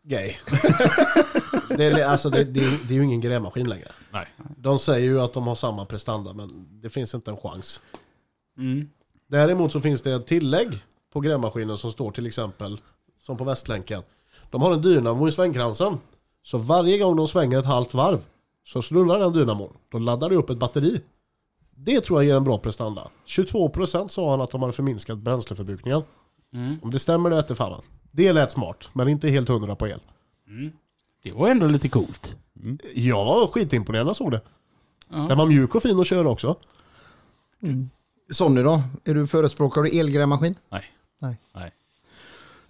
[SPEAKER 4] Gay. Det är, alltså, det, det, är- det är ju ingen grävmaskin längre.
[SPEAKER 3] Nej.
[SPEAKER 4] De säger ju att de har samma prestanda men det finns inte en chans. Däremot så finns det ett tillägg på grävmaskinen som står till exempel, som på Västlänken. De har en dynamo i svängkransen. Så varje gång de svänger ett halvt varv så snurrar den dynamon. Då laddar det upp ett batteri. Det tror jag ger en bra prestanda. 22% sa han att de hade förminskat bränsleförbrukningen. Om det stämmer det vete fan. va. Det lät smart, men inte helt hundra på el.
[SPEAKER 2] Det var ändå lite coolt.
[SPEAKER 4] Jag var skitimponerad när jag såg det.
[SPEAKER 2] Ja.
[SPEAKER 4] Den var mjuk och fin att köra också.
[SPEAKER 1] Sonny då? Är du förespråkare av elgrävmaskin?
[SPEAKER 3] Nej.
[SPEAKER 1] Nej.
[SPEAKER 3] Nej.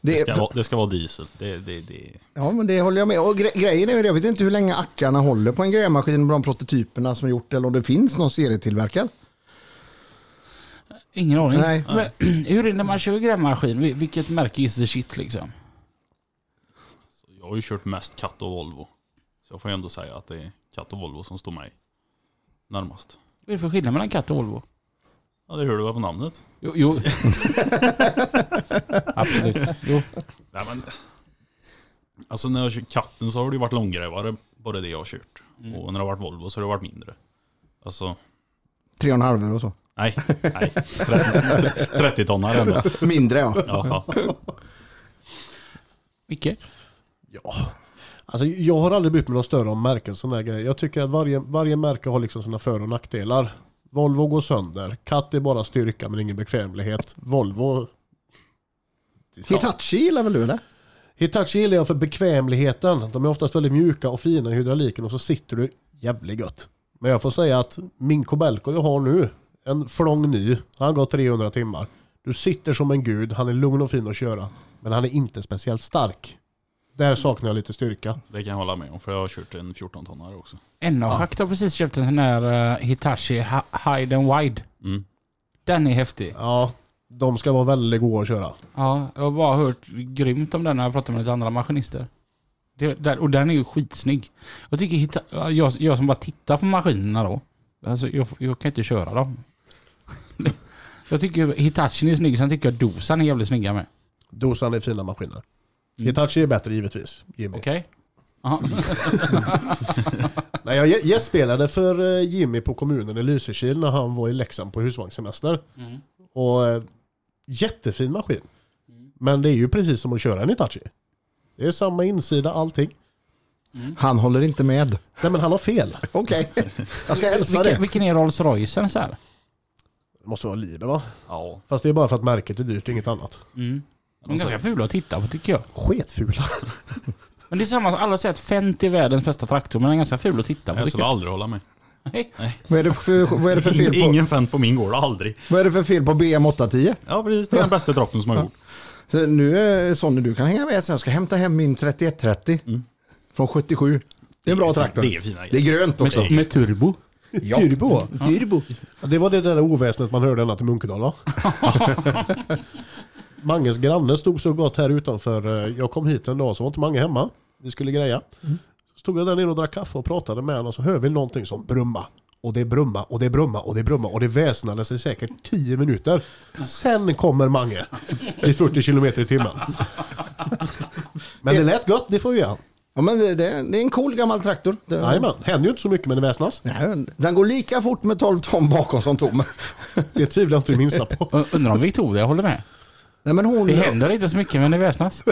[SPEAKER 3] Det,
[SPEAKER 1] Det,
[SPEAKER 3] ska vara, det ska vara diesel. Det, det, det.
[SPEAKER 1] ja, men det håller jag med Och gre Grejen är ju det, jag vet inte hur länge ackarna håller på en grävmaskin med de prototyperna som gjort eller om det finns någon serietillverkad.
[SPEAKER 2] Ingen aning.
[SPEAKER 1] Nej.
[SPEAKER 2] Men, hur är det när man kör grävmaskin? Vil- Vilket märke is the shit liksom?
[SPEAKER 3] jag har ju kört mest katt och Volvo. Så jag får ändå säga att det är katt och Volvo som står mig närmast.
[SPEAKER 2] Vad är det för skillnad mellan katt och Volvo?
[SPEAKER 3] Ja det hör du väl på namnet?
[SPEAKER 2] Jo. jo. Absolut. Jo.
[SPEAKER 3] Nej, men, alltså när jag kör katten så har det ju varit långgrävare, bara det jag har kört. Och när det har varit Volvo så har det varit mindre. Alltså,
[SPEAKER 1] Tre och en halv och så.
[SPEAKER 3] nej, nej. 30, 30 tonnar ändå.
[SPEAKER 1] Mindre ja.
[SPEAKER 3] Ja, ja.
[SPEAKER 2] Micke?
[SPEAKER 4] Ja. Alltså, jag har aldrig brytt mig någon större om märken. Såna här grejer. Jag tycker att varje, varje märke har liksom sina för och nackdelar. Volvo går sönder. Katt är bara styrka men ingen bekvämlighet. Volvo...
[SPEAKER 1] Hitachi gillar väl du eller?
[SPEAKER 4] Hitachi gillar jag för bekvämligheten. De är oftast väldigt mjuka och fina i hydrauliken och så sitter du jävligt gött. Men jag får säga att min Kobelko jag har nu, en flång ny, han går 300 timmar. Du sitter som en gud, han är lugn och fin att köra. Men han är inte speciellt stark. Där saknar jag lite styrka.
[SPEAKER 3] det kan jag hålla med om för jag har kört en 14 tonnare också.
[SPEAKER 2] NA-schakt har precis köpt en sån här eh, Hitachi Hi- Hide and Wide.
[SPEAKER 3] Mm.
[SPEAKER 2] Den är häftig.
[SPEAKER 4] Ja, de ska vara väldigt goda att köra.
[SPEAKER 2] Ja, jag har bara hört grymt om den när jag pratat med lite andra maskinister. Det, där, och den är ju skitsnygg. Jag tycker Hita- jag, jag som bara tittar på maskinerna då. Alltså jag, jag kan inte köra dem. jag tycker Hitachin är snygg, sen tycker jag Dosan är jävligt snygga med.
[SPEAKER 4] Dosan är fina maskiner.
[SPEAKER 1] Mm.
[SPEAKER 4] Hitachi är bättre givetvis. Jimmy.
[SPEAKER 2] Okej?
[SPEAKER 4] Nej, jag gästspelade för eh, Jimmy på kommunen i Lysekil när han var i Leksand på husvagnssemester.
[SPEAKER 1] Mm.
[SPEAKER 4] Och eh, jättefin maskin.
[SPEAKER 1] Mm.
[SPEAKER 4] Men det är ju precis som att köra en Hitachi. Det är samma insida, allting.
[SPEAKER 1] Han håller inte med.
[SPEAKER 4] Nej men han har fel.
[SPEAKER 1] Okej, jag ska hälsa
[SPEAKER 2] Vilken,
[SPEAKER 1] det.
[SPEAKER 2] vilken är Rolls Roycen så här?
[SPEAKER 4] Det måste vara Liber va?
[SPEAKER 3] Ja,
[SPEAKER 4] Fast det är bara för att märket är dyrt, inget annat.
[SPEAKER 1] Mm.
[SPEAKER 2] De är ganska fula att titta på tycker jag.
[SPEAKER 4] Sketfula.
[SPEAKER 2] Men det är samma, alla säger att Fent är världens bästa traktor, men den är ganska ful att titta på.
[SPEAKER 3] jag
[SPEAKER 2] tycker
[SPEAKER 3] skulle
[SPEAKER 2] jag.
[SPEAKER 3] aldrig hålla med.
[SPEAKER 2] Nej.
[SPEAKER 1] Vad är det för, vad är det för fel på?
[SPEAKER 3] Ingen fan på min gård, aldrig.
[SPEAKER 1] Vad är det för fel på BM 810?
[SPEAKER 3] Ja precis, det är den bästa traktorn som har gjort.
[SPEAKER 1] Så nu är Sonny, du kan hänga med sen. Jag ska hämta hem min 3130 från 77. Det är en bra traktor.
[SPEAKER 3] Mm. Det är fina
[SPEAKER 1] Det är
[SPEAKER 3] grejer.
[SPEAKER 1] grönt också.
[SPEAKER 2] Med, med turbo.
[SPEAKER 1] Ja.
[SPEAKER 4] Turbo.
[SPEAKER 1] Turbo.
[SPEAKER 4] Ja, Det var det där oväsnet man hörde ända till Munkedal va? Manges granne stod så gott här utanför. eh, Jag kom hit en dag så var inte Mange hemma. Vi skulle greja. Så stod jag där nere och drack kaffe och pratade med honom och så hör vi någonting som brumma. Och det brumma och det brumma och det brumma och det väsnades i säkert 10 minuter. Sen kommer Mange i 40 kilometer i timmen. Men det lät gött, det får vi ge han.
[SPEAKER 1] Ja, men det, det, det är en cool gammal traktor. Det,
[SPEAKER 4] Jajamän, händer ju inte så mycket men det väsnas.
[SPEAKER 1] Nej, Den går lika fort med 12 ton bakom som tom.
[SPEAKER 4] Det tvivlar jag inte det minsta på.
[SPEAKER 2] Och Undrar om Victoria håller med.
[SPEAKER 1] Nej, men hon...
[SPEAKER 2] Det händer inte så mycket men det väsnas.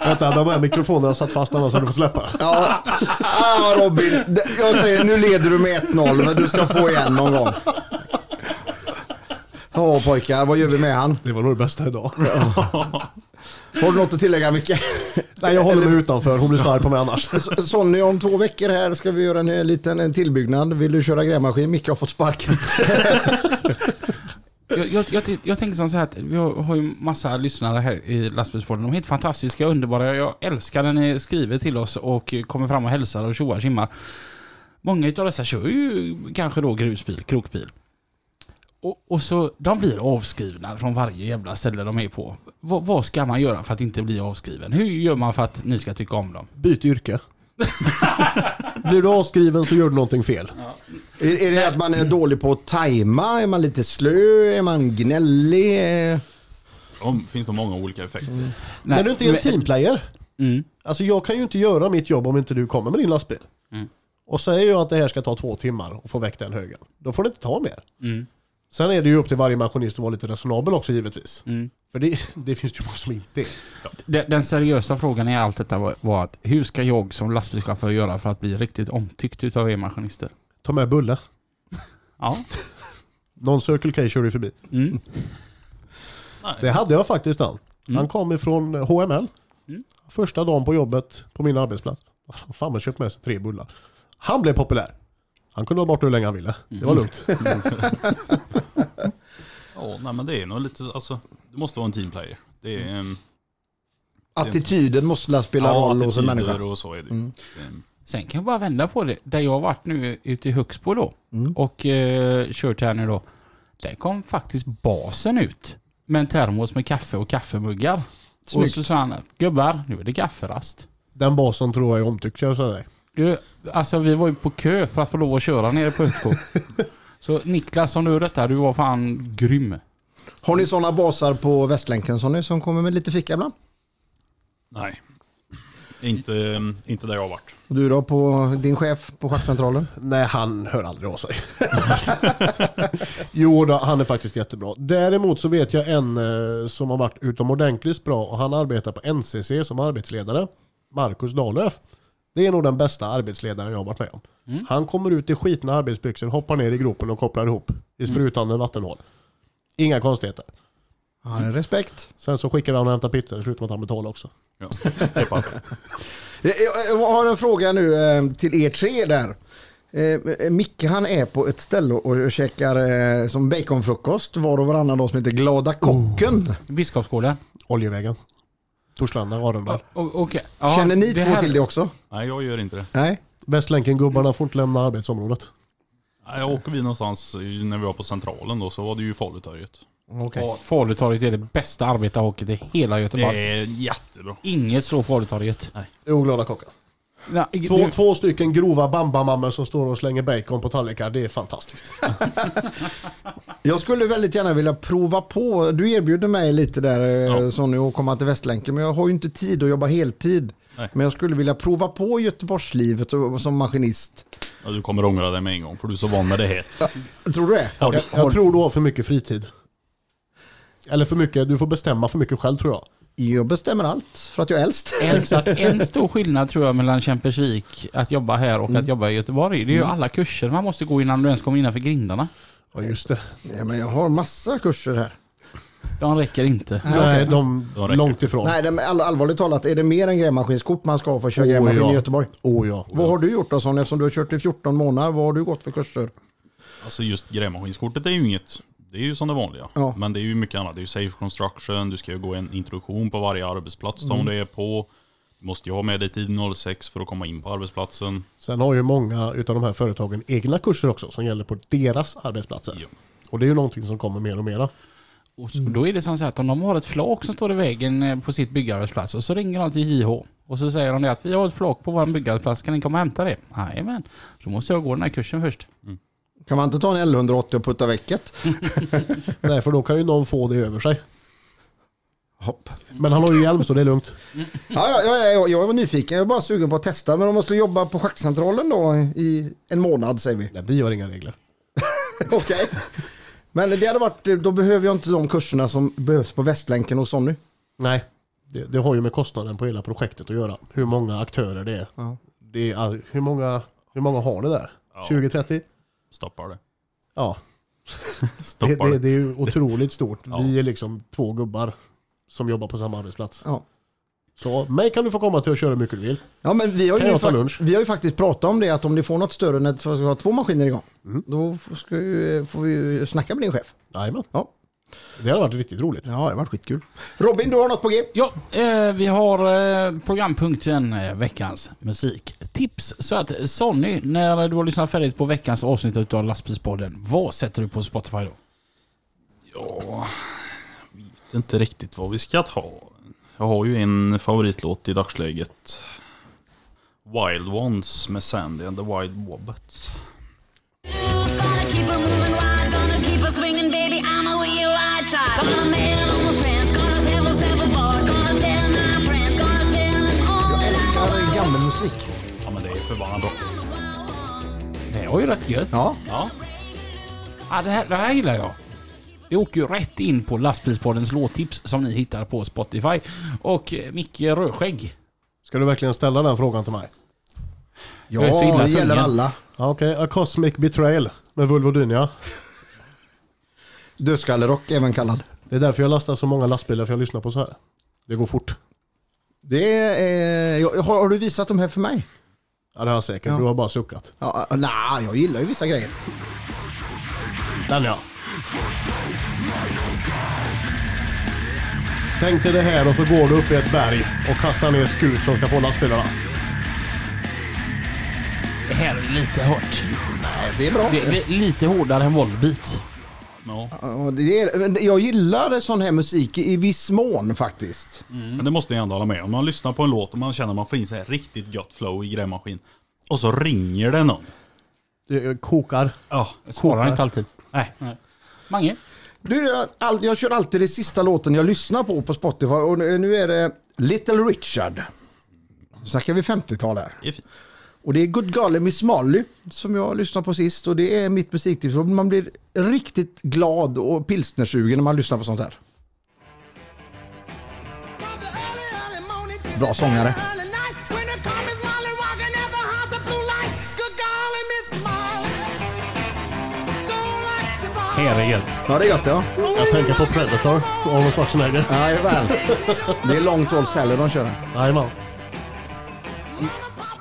[SPEAKER 4] Vänta, de här mikrofonerna satt fast annars hade du fått släppa det.
[SPEAKER 1] Ja, ah, Robin. Det- Jag säger nu leder du med 1-0, men du ska få igen någon gång. Ja pojkar, vad gör vi med han?
[SPEAKER 4] Det var nog det bästa idag.
[SPEAKER 1] Har du något att tillägga Micke?
[SPEAKER 4] Nej, jag håller mig utanför. Hon blir så arg på mig annars.
[SPEAKER 1] S- Sonny, om två veckor här ska vi göra en eh, liten en tillbyggnad. Vill du köra grävmaskin? Micke har fått sparken.
[SPEAKER 2] Jag, jag, jag, ty- jag tänker som så här att vi har, har ju massa lyssnare här i lastbilspodden. De är helt fantastiska, underbara. Jag älskar när ni skriver till oss och kommer fram och hälsar och tjoar och tjimmar. Många utav dessa kör ju kanske då grusbil, krokbil. Och, och så de blir avskrivna från varje jävla ställe de är på. Vad- vad ska man göra för att inte bli avskriven? Hur gör man för att ni ska tycka om dem?
[SPEAKER 4] Byt yrke. Blir du avskriven så gör du någonting fel.
[SPEAKER 1] Är, är det att man är dålig på att tajma? Är man lite slö? Är man gnällig? Eh,
[SPEAKER 3] Ja, finns det många olika effekter.
[SPEAKER 1] Mm.
[SPEAKER 4] När du inte är en
[SPEAKER 2] men-
[SPEAKER 4] teamplayer.
[SPEAKER 2] Mm.
[SPEAKER 4] Alltså jag kan ju inte göra mitt jobb om inte du kommer med din lastbil.
[SPEAKER 2] Mm.
[SPEAKER 4] Och säger jag att det här ska ta två timmar och få väck den högen. Då får det inte ta mer.
[SPEAKER 2] Mm.
[SPEAKER 4] Sen är det ju upp till varje maskinist att vara lite resonabel också givetvis.
[SPEAKER 2] Mm.
[SPEAKER 4] För det, det finns det ju många som inte är.
[SPEAKER 2] Den, den seriösa frågan i allt detta var, var att hur ska jag som lastbilschaufför göra för att bli riktigt omtyckt utav er maskinister?
[SPEAKER 4] Ta med Bulle.
[SPEAKER 2] Ja.
[SPEAKER 4] Någon Circle K körde ju förbi.
[SPEAKER 2] Mm.
[SPEAKER 4] Det hade jag faktiskt han. Han kom ifrån HML. Första dagen på jobbet på min arbetsplats. Han fan man köpt med sig tre bullar. Han blev populär. Han kunde vara borta hur länge han ville. Det var lugnt.
[SPEAKER 3] Ja, nej, men det är nog lite, alltså, det måste vara en teamplayer. Det
[SPEAKER 1] Mm.
[SPEAKER 3] är mm, en
[SPEAKER 1] Attityden måste la spela roll hos en
[SPEAKER 3] attityder
[SPEAKER 1] människa. Mm.
[SPEAKER 3] och så är det. Ehm,
[SPEAKER 2] Sen kan jag bara vända på det. Där jag har varit nu ute i Högsbo
[SPEAKER 1] Mm.
[SPEAKER 2] då och eh, kört här nu då. Där kom faktiskt basen ut med en termos med kaffe och kaffemuggar. Och
[SPEAKER 1] Snyggt.
[SPEAKER 2] så sa han, gubbar, nu är det kafferast.
[SPEAKER 4] Den basen tror jag är omtyckt kan jag säga dig.
[SPEAKER 2] Du, alltså vi var ju på kö för att få lov att köra nere på Utskog. så Niklas, som du hör detta, du var fan grym.
[SPEAKER 1] Har ni sådana basar på Västlänken som ni som kommer med lite fika ibland?
[SPEAKER 3] Nej. Inte, mm, inte där jag har varit.
[SPEAKER 1] Och Du då på din chef på schaktcentralen?
[SPEAKER 4] Nej, han hör aldrig av sig. jo, då, han är faktiskt jättebra. Däremot så vet jag en eh, som har varit utomordentligt bra och han arbetar på NCC som arbetsledare. Marcus Dahlöf. Det är nog den bästa arbetsledaren jag har varit med om. Han kommer ut i skitna arbetsbyxor, hoppar ner i gropen och kopplar ihop i sprutande vattenhål. Inga konstigheter.
[SPEAKER 1] Ja, respekt.
[SPEAKER 4] Sen så skickar vi honom och hämtar pizza, det slutar med att han betalar också.
[SPEAKER 3] Ja. Det är bara-
[SPEAKER 1] Jag, jag Eh, jag har en fråga nu eh, till er tre där. Eh, Micke han är på ett ställe och käkar eh, som baconfrukost var och varannan dag som heter Glada Kocken.
[SPEAKER 2] Biskopsgården.
[SPEAKER 4] Oljevägen. Torslanda, Arendal.
[SPEAKER 2] O- Okej. Ja,
[SPEAKER 1] Känner ni två
[SPEAKER 2] här-
[SPEAKER 1] till det också?
[SPEAKER 3] Nej, jag gör inte det.
[SPEAKER 1] Nej?
[SPEAKER 4] Västlänken-gubbarna får inte lämna arbetsområdet.
[SPEAKER 3] Nej, jag åker vi någonstans i- när vi var på Centralen då så var det ju Falutorget.
[SPEAKER 1] Okej.
[SPEAKER 2] Ja, Falutorget är det bästa arbetarhocket i hela
[SPEAKER 3] Det
[SPEAKER 1] Eh.
[SPEAKER 2] Göteborg.
[SPEAKER 3] är Eh, jättebra.
[SPEAKER 2] Inget slår Falutorget.
[SPEAKER 4] Jo, glada kocken.
[SPEAKER 2] Nej,
[SPEAKER 4] Två,
[SPEAKER 2] nu-
[SPEAKER 4] två stycken grova bambamammor som står och slänger bacon på tallrikar. Det är fantastiskt.
[SPEAKER 1] Jag skulle väldigt gärna vilja prova på. Du erbjuder mig lite där ja.
[SPEAKER 3] Ja.
[SPEAKER 1] Sonny att komma till Västlänken men jag har ju inte tid att jobba heltid.
[SPEAKER 3] Nej.
[SPEAKER 1] Men jag skulle vilja prova på Göteborgslivet och, som maskinist.
[SPEAKER 3] Ja, du kommer ångra dig med en gång för du är så van med det här.
[SPEAKER 1] Tror du det?
[SPEAKER 4] Jag, jag tror du har för mycket fritid. Eller för mycket, du får bestämma för mycket själv tror jag.
[SPEAKER 1] Jag bestämmer allt för att jag är äldst.
[SPEAKER 2] En, en stor skillnad tror jag mellan Kämpersvik, att jobba här och att jobba i Göteborg, det är ju alla kurser man måste gå innan du ens kommer innanför grindarna.
[SPEAKER 4] Ja just det.
[SPEAKER 1] Nej, men jag har massa kurser här.
[SPEAKER 2] De räcker inte.
[SPEAKER 4] Nej, de
[SPEAKER 3] Då räcker
[SPEAKER 4] långt ifrån.
[SPEAKER 1] Nej, det- men all, allvarligt talat, är det mer än grävmaskinskort man ska ha för att köra
[SPEAKER 4] Åh,
[SPEAKER 1] grävmaskin
[SPEAKER 4] ja.
[SPEAKER 1] i Göteborg?
[SPEAKER 4] Oh, ja.
[SPEAKER 1] Vad har du gjort då Sonny? Eftersom du har kört i 14 månader, vad har du gått för kurser?
[SPEAKER 3] Alltså just grävmaskinskortet är ju inget. Det är ju som det vanliga.
[SPEAKER 1] Ja.
[SPEAKER 3] Men det är ju mycket annat. Det är ju safe construction, du ska ju gå en introduktion på varje arbetsplats som du är på. Du måste ju ha med dig tid 06 för att komma in på arbetsplatsen.
[SPEAKER 4] Sen har ju många utav de här företagen egna kurser också som gäller på deras arbetsplatser.
[SPEAKER 3] Ja.
[SPEAKER 4] Och det är ju någonting som kommer mer och mera.
[SPEAKER 2] Och så, då är det som så här att om de har ett flak som står i vägen eh, på sitt byggarbetsplats och så ringer de till JH och så säger de det att vi har ett flak på vår byggarbetsplats, kan ni komma och hämta det? Jajamän. Då måste jag gå den här kursen först.
[SPEAKER 1] Kan man inte ta en L180 och putta väcket?
[SPEAKER 4] Nej, för då kan ju någon få det över sig.
[SPEAKER 1] Hopp.
[SPEAKER 4] Men han har ju hjälm så det är lugnt.
[SPEAKER 1] Ja, ja, ja, ja, jag var nyfiken, jag var bara sugen på att testa. Men om man skulle jobba på schackcentralen då i en månad säger vi.
[SPEAKER 4] Nej, vi har inga regler.
[SPEAKER 1] Okej. Men det hade varit, då behöver jag inte de kurserna som behövs på Västlänken och Sonny.
[SPEAKER 4] Nej, det, det har ju med kostnaden på hela projektet att göra. Hur många aktörer det är.
[SPEAKER 1] Ja.
[SPEAKER 4] Det är all- hur, många, hur många har ni där?
[SPEAKER 3] Ja.
[SPEAKER 4] 20-30?
[SPEAKER 3] Stoppar det.
[SPEAKER 4] Ja, det,
[SPEAKER 3] Stoppar det.
[SPEAKER 4] det, det är ju otroligt stort.
[SPEAKER 3] Ja.
[SPEAKER 4] Vi är liksom två gubbar som jobbar på samma arbetsplats.
[SPEAKER 1] Ja.
[SPEAKER 4] Så mig kan du få komma till och köra hur mycket du vill.
[SPEAKER 1] Ja, men vi har, ju
[SPEAKER 4] Kan jag ta
[SPEAKER 1] fak-
[SPEAKER 4] lunch?
[SPEAKER 1] vi har ju faktiskt pratat om det att om ni får något större när det ska vara två maskiner igång. Då f- ska ju, eh, får vi ju snacka med din chef.
[SPEAKER 4] Jajamän.
[SPEAKER 1] Ja.
[SPEAKER 4] Det hade varit riktigt roligt.
[SPEAKER 1] Ja, det har varit skitkul. Robin, du har något på G?
[SPEAKER 2] Ja, eh, vi har eh, programpunkten eh, veckans musiktips. Så att eh, Sonny, när du har lyssnat färdigt på veckans avsnitt av Lastbilspodden, vad sätter du på Spotify då?
[SPEAKER 3] Ja, vet inte riktigt vad vi ska ta. Jag har ju en favoritlåt i dagsläget. Wild Ones med Sandy and the Wild Wobbets.
[SPEAKER 5] Gonna keep her moving wide, gonna keep her swinging, baby. I'm a wee wild child. Gonna mail all my friends, gonna tell myself apart. Gonna tell my friends, gonna tell them all that I know.
[SPEAKER 1] Gammal musik.
[SPEAKER 3] Ja men det är förbannat bra.
[SPEAKER 2] Det var ju rätt gött.
[SPEAKER 1] Ja.
[SPEAKER 3] Ja,
[SPEAKER 2] Ja, det, här, det här gillar jag. Vi åker ju rätt in på Lastbilspoddens låttips som ni hittar på Spotify. Och eh, Micke Rödskägg.
[SPEAKER 4] Ska du verkligen ställa den frågan till mig?
[SPEAKER 1] Ja,
[SPEAKER 2] Jag är så illa
[SPEAKER 1] det gäller
[SPEAKER 2] tvungen.
[SPEAKER 1] alla.
[SPEAKER 4] Ja, Okej, A Cosmic Betrayal med Volvo Dynia.
[SPEAKER 1] Dödskallerock även kallad.
[SPEAKER 4] Det är därför jag lastar så många lastbilar, för jag lyssnar på så här. Det går fort.
[SPEAKER 1] Det är, jag- har, har du visat de här för mig?
[SPEAKER 4] Ja, det har jag säkert.
[SPEAKER 1] Ja.
[SPEAKER 4] Du har bara suckat.
[SPEAKER 1] Ja, äh, nej, jag gillar ju vissa grejer.
[SPEAKER 4] Den ja. Tänk dig det här och så går du upp i ett berg och kastar ner skut som ska få lastbilarna.
[SPEAKER 2] Det här är lite hårt.
[SPEAKER 1] Det är bra.
[SPEAKER 2] Det är lite hårdare än Volbeat.
[SPEAKER 3] Ja.
[SPEAKER 1] Ja, det är, men jag gillar sån här musik i viss mån faktiskt.
[SPEAKER 3] Men det måste jag ändå hålla med om. Man lyssnar på en låt och man känner att man får in så här riktigt gött flow i grävmaskin. Och så ringer det någon.
[SPEAKER 4] Det eh, kokar.
[SPEAKER 3] Ja.
[SPEAKER 2] Jag svarar inte alltid.
[SPEAKER 3] Nej.
[SPEAKER 2] Mange?
[SPEAKER 1] Du, jag, all, jag kör alltid den sista låten jag lyssnar på på Spotify och nu nu är det Little Richard. Nu snackar vi 50-tal här.
[SPEAKER 3] Det är fint.
[SPEAKER 1] Och det är Good Golly Miss Molly som jag lyssnade på sist och det är mitt musiktips. Och Man blir riktigt glad och pilsnersugen när man lyssnar på sånt här.
[SPEAKER 6] Bra sångare.
[SPEAKER 2] Herregud.
[SPEAKER 1] Ja, det är gött ja.
[SPEAKER 7] Jag tänker på Predator och Arnold Schwarzenegger.
[SPEAKER 1] Jajamän. Det är Long Tall Sally de kör.
[SPEAKER 7] Jajamän.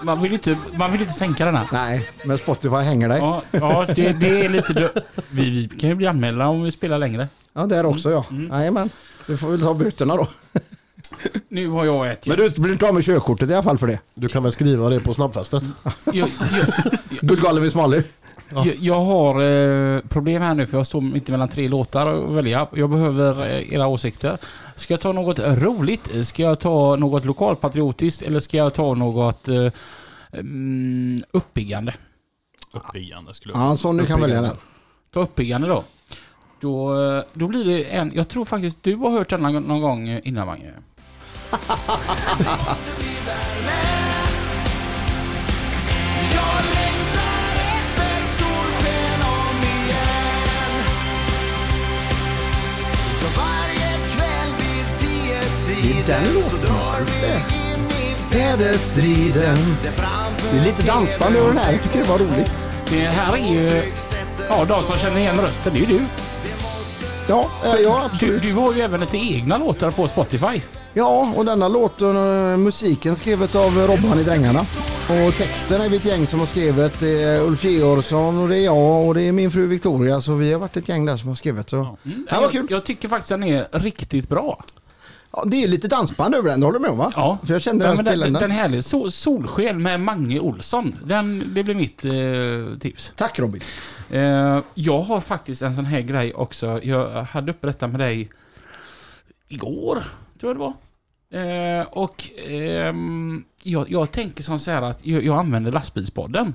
[SPEAKER 2] Man vill inte, man vill inte sänka den här.
[SPEAKER 1] Nej, men Spotify hänger dig.
[SPEAKER 2] Ja, ja det, det är lite... dö- Vi, vi kan ju bli anmälda om vi spelar längre.
[SPEAKER 1] Ja, där också ja.
[SPEAKER 2] Mm.
[SPEAKER 1] Jajamän. Du får väl ta böterna då.
[SPEAKER 2] Nu har jag ett...
[SPEAKER 1] Men du blir inte av med körkortet i alla fall för det.
[SPEAKER 4] Du kan väl skriva det på snabbfästet?
[SPEAKER 2] Jag, jag,
[SPEAKER 1] Good Golly Miss Molly.
[SPEAKER 2] jag, jag har eh, problem här nu för jag står mitt mellan tre låtar att välja. Jag behöver eh, era åsikter. Ska jag ta något roligt? Ska jag ta något lokalpatriotiskt? Eller ska jag ta något eh, mm, uppiggande?
[SPEAKER 3] Uppiggande skulle jag
[SPEAKER 1] Ja, så nu kan välja den.
[SPEAKER 2] Ta uppiggande då. Då, eh, då blir det en... Jag tror faktiskt du har hört denna någon gång innan Mange.
[SPEAKER 1] Det är den låten. Just det. Väderstriden. Det är lite dansband över den här. Jag tycker det var roligt.
[SPEAKER 2] Det här är ju... Ja, de som känner igen rösten, det är ju du.
[SPEAKER 1] Ja, eh, ja
[SPEAKER 2] Du,
[SPEAKER 1] absolut.
[SPEAKER 2] du har ju även lite egna låtar på Spotify.
[SPEAKER 1] Ja, och denna låten, eh, musiken skrivet av Robban i Drängarna. Och texten är vi ett gäng som har skrivit. Det är Ulf Georgsson och det är jag och det är min fru Victoria. Så vi har varit ett gäng där som har skrivit. Så.
[SPEAKER 2] Mm.
[SPEAKER 1] Det här var kul.
[SPEAKER 2] Jag, jag tycker faktiskt den är riktigt bra.
[SPEAKER 1] Ja, det är ju lite dansband över den, det håller du med om va?
[SPEAKER 2] Ja.
[SPEAKER 1] För jag kände
[SPEAKER 2] Ja,
[SPEAKER 1] den
[SPEAKER 2] men den,
[SPEAKER 1] spelaren.
[SPEAKER 2] den härlig. So, solsken med Mange Olsson. Den, det blir mitt eh, tips.
[SPEAKER 1] Tack Robin.
[SPEAKER 2] Eh, jag har faktiskt en sån här grej också. Jag hade uppe detta med dig igår, tror jag det var. Eh, och ehm, jag, jag tänker som så här att jag, jag använder lastbilspodden.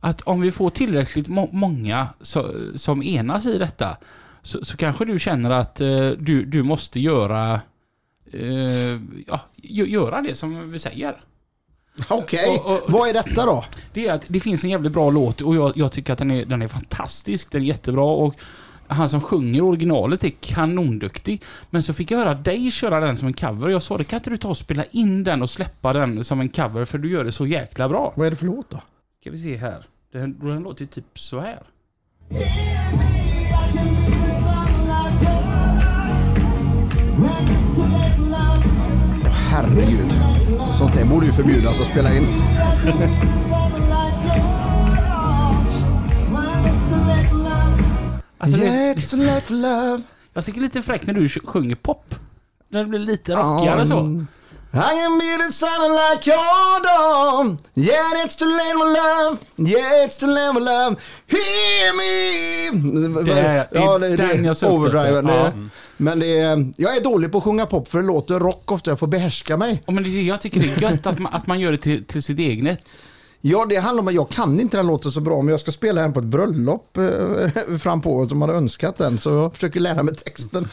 [SPEAKER 2] Att om vi får tillräckligt må- många så, som enas i detta så, så kanske du känner att eh, du, du måste göra eh, ja, gö- göra det som vi säger.
[SPEAKER 1] Okej,
[SPEAKER 2] Och- och-
[SPEAKER 1] vad är detta då?
[SPEAKER 2] Det är att det finns en jävligt bra låt och jag, jag tycker att den är, den är fantastisk. Den är jättebra och han som sjunger originalet är kanonduktig. Men så fick jag höra dig köra den som en cover. Jag sa det, kan inte du ta och spela in den och släppa den som en cover för du gör det så jäkla bra.
[SPEAKER 1] Vad är det för låt då?
[SPEAKER 2] Ska vi se här. Den, den låter ju typ så här.
[SPEAKER 1] Herregud. Sånt där borde ju förbjudas att spela in.
[SPEAKER 2] Alltså, det,
[SPEAKER 1] Let's let love
[SPEAKER 2] jag tycker det är lite fräckt när du sj- sjunger pop. När det blir lite rockigare så.
[SPEAKER 1] on. I can be the sunlight you're dawn Yeah it's to let my love Yeah it's to let my love Hear me
[SPEAKER 2] Det är- det är
[SPEAKER 1] ja,
[SPEAKER 2] den jag sökte
[SPEAKER 1] Overdriven.
[SPEAKER 2] efter.
[SPEAKER 1] Det,
[SPEAKER 2] Ja.
[SPEAKER 1] är- Men det är, jag är dålig på att sjunga pop för det låter rock ofta. Jag får behärska mig.
[SPEAKER 2] Och men det, jag tycker det är gött att man, att man gör det till, till sitt eget.
[SPEAKER 1] Ja, det handlar om att jag kan inte den låten så bra men jag ska spela den på ett bröllop eh, fram på som hade önskat den så jag försöker lära mig texten.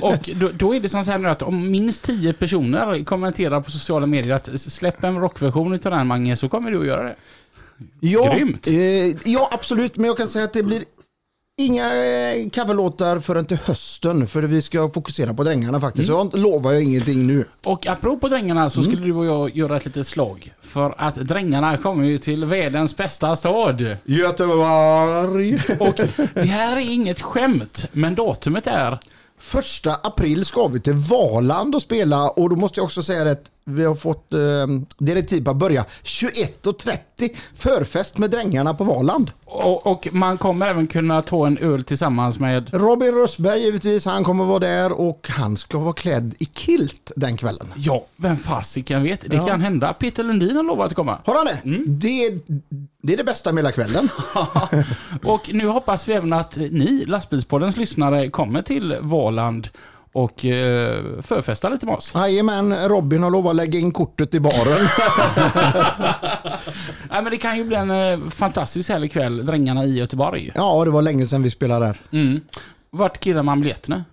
[SPEAKER 2] Och då, då är det som så här nu att om minst 10 personer kommenterar på sociala medier att släpp en rockversion utav den Mange så kommer du att göra det.
[SPEAKER 1] Ja,
[SPEAKER 2] Grymt.
[SPEAKER 1] Eh, ja, absolut. Men jag kan säga att det blir inga eh, coverlåtar förrän till hösten. För vi ska fokusera på drängarna faktiskt. Så jag lovar jag ingenting nu.
[SPEAKER 2] Och apropå Drängarna så skulle du och jag göra ett litet slag. För att Drängarna kommer ju till världens bästa stad.
[SPEAKER 1] Göteborg!
[SPEAKER 2] Och det här är inget skämt, men datumet är...
[SPEAKER 1] Första april ska vi till Valand och spela. Och då måste jag också säga att vi har fått eh, direktiv på att börja 21.30 förfest med drängarna på Valand.
[SPEAKER 2] Och, och man kommer även kunna ta en öl tillsammans med...
[SPEAKER 1] Robin Rösberg givetvis, han kommer vara där och han ska vara klädd i kilt den kvällen.
[SPEAKER 2] Ja, vem fasiken vet? Det
[SPEAKER 1] Ja.
[SPEAKER 2] kan hända. Peter Lundin har lovat att komma.
[SPEAKER 1] Har han det?
[SPEAKER 3] Mm.
[SPEAKER 1] Det, det är det bästa med hela kvällen.
[SPEAKER 2] Och nu hoppas vi även att ni, lastbilspoddens lyssnare, kommer till Valand och eh, förfestar lite med oss.
[SPEAKER 1] Jajamän, Robin har lovat att lägga in kortet i baren.
[SPEAKER 2] Nej, men det kan ju bli en eh, fantastisk härlig kväll, Drängarna i Göteborg.
[SPEAKER 1] ja, det var länge sedan vi spelade där.
[SPEAKER 3] Mm.
[SPEAKER 2] Vart killar man biljetterna?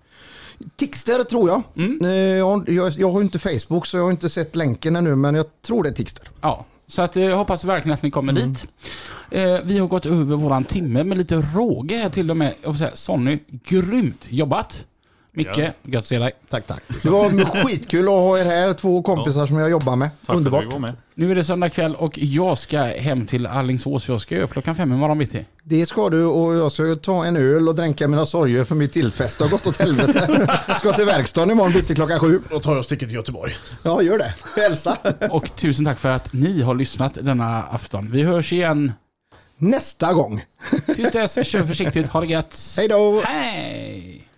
[SPEAKER 1] Tixter tror jag.
[SPEAKER 3] Mm.
[SPEAKER 1] Eh, Jag, jag, jag har ju inte Facebook så jag har inte sett länken ännu men jag tror det är Tixter.
[SPEAKER 2] Ja, så att, eh, jag hoppas verkligen att ni kommer
[SPEAKER 1] Mm.
[SPEAKER 2] dit. Eh, vi har gått över våran timme med lite råge här till och med. Jag får säga, Sonny, grymt jobbat! Micke,
[SPEAKER 3] Ja.
[SPEAKER 2] gött att se dig.
[SPEAKER 1] Tack, tack. Det var skitkul att ha er här, två kompisar som jag jobbar med.
[SPEAKER 3] Tack för att
[SPEAKER 1] Underbart.
[SPEAKER 3] du var med.
[SPEAKER 2] Nu är det söndag kväll och jag ska hem till Alingsås. Jag ska ju upp klockan fem imorgon bitti.
[SPEAKER 1] Det ska du och jag ska ju ta en öl och dränka mina sorger för mitt tillfest har gått åt helvete. ska till verkstaden imorgon bitti klockan sju.
[SPEAKER 4] Då tar jag sticket till Göteborg.
[SPEAKER 1] Ja, gör det. Hälsa.
[SPEAKER 2] Och tusen tack för att ni har lyssnat denna afton. Vi hörs igen.
[SPEAKER 1] Nästa gång.
[SPEAKER 2] Tills dess, kör försiktigt. Ha det gött.
[SPEAKER 1] Hej då.
[SPEAKER 2] Hej!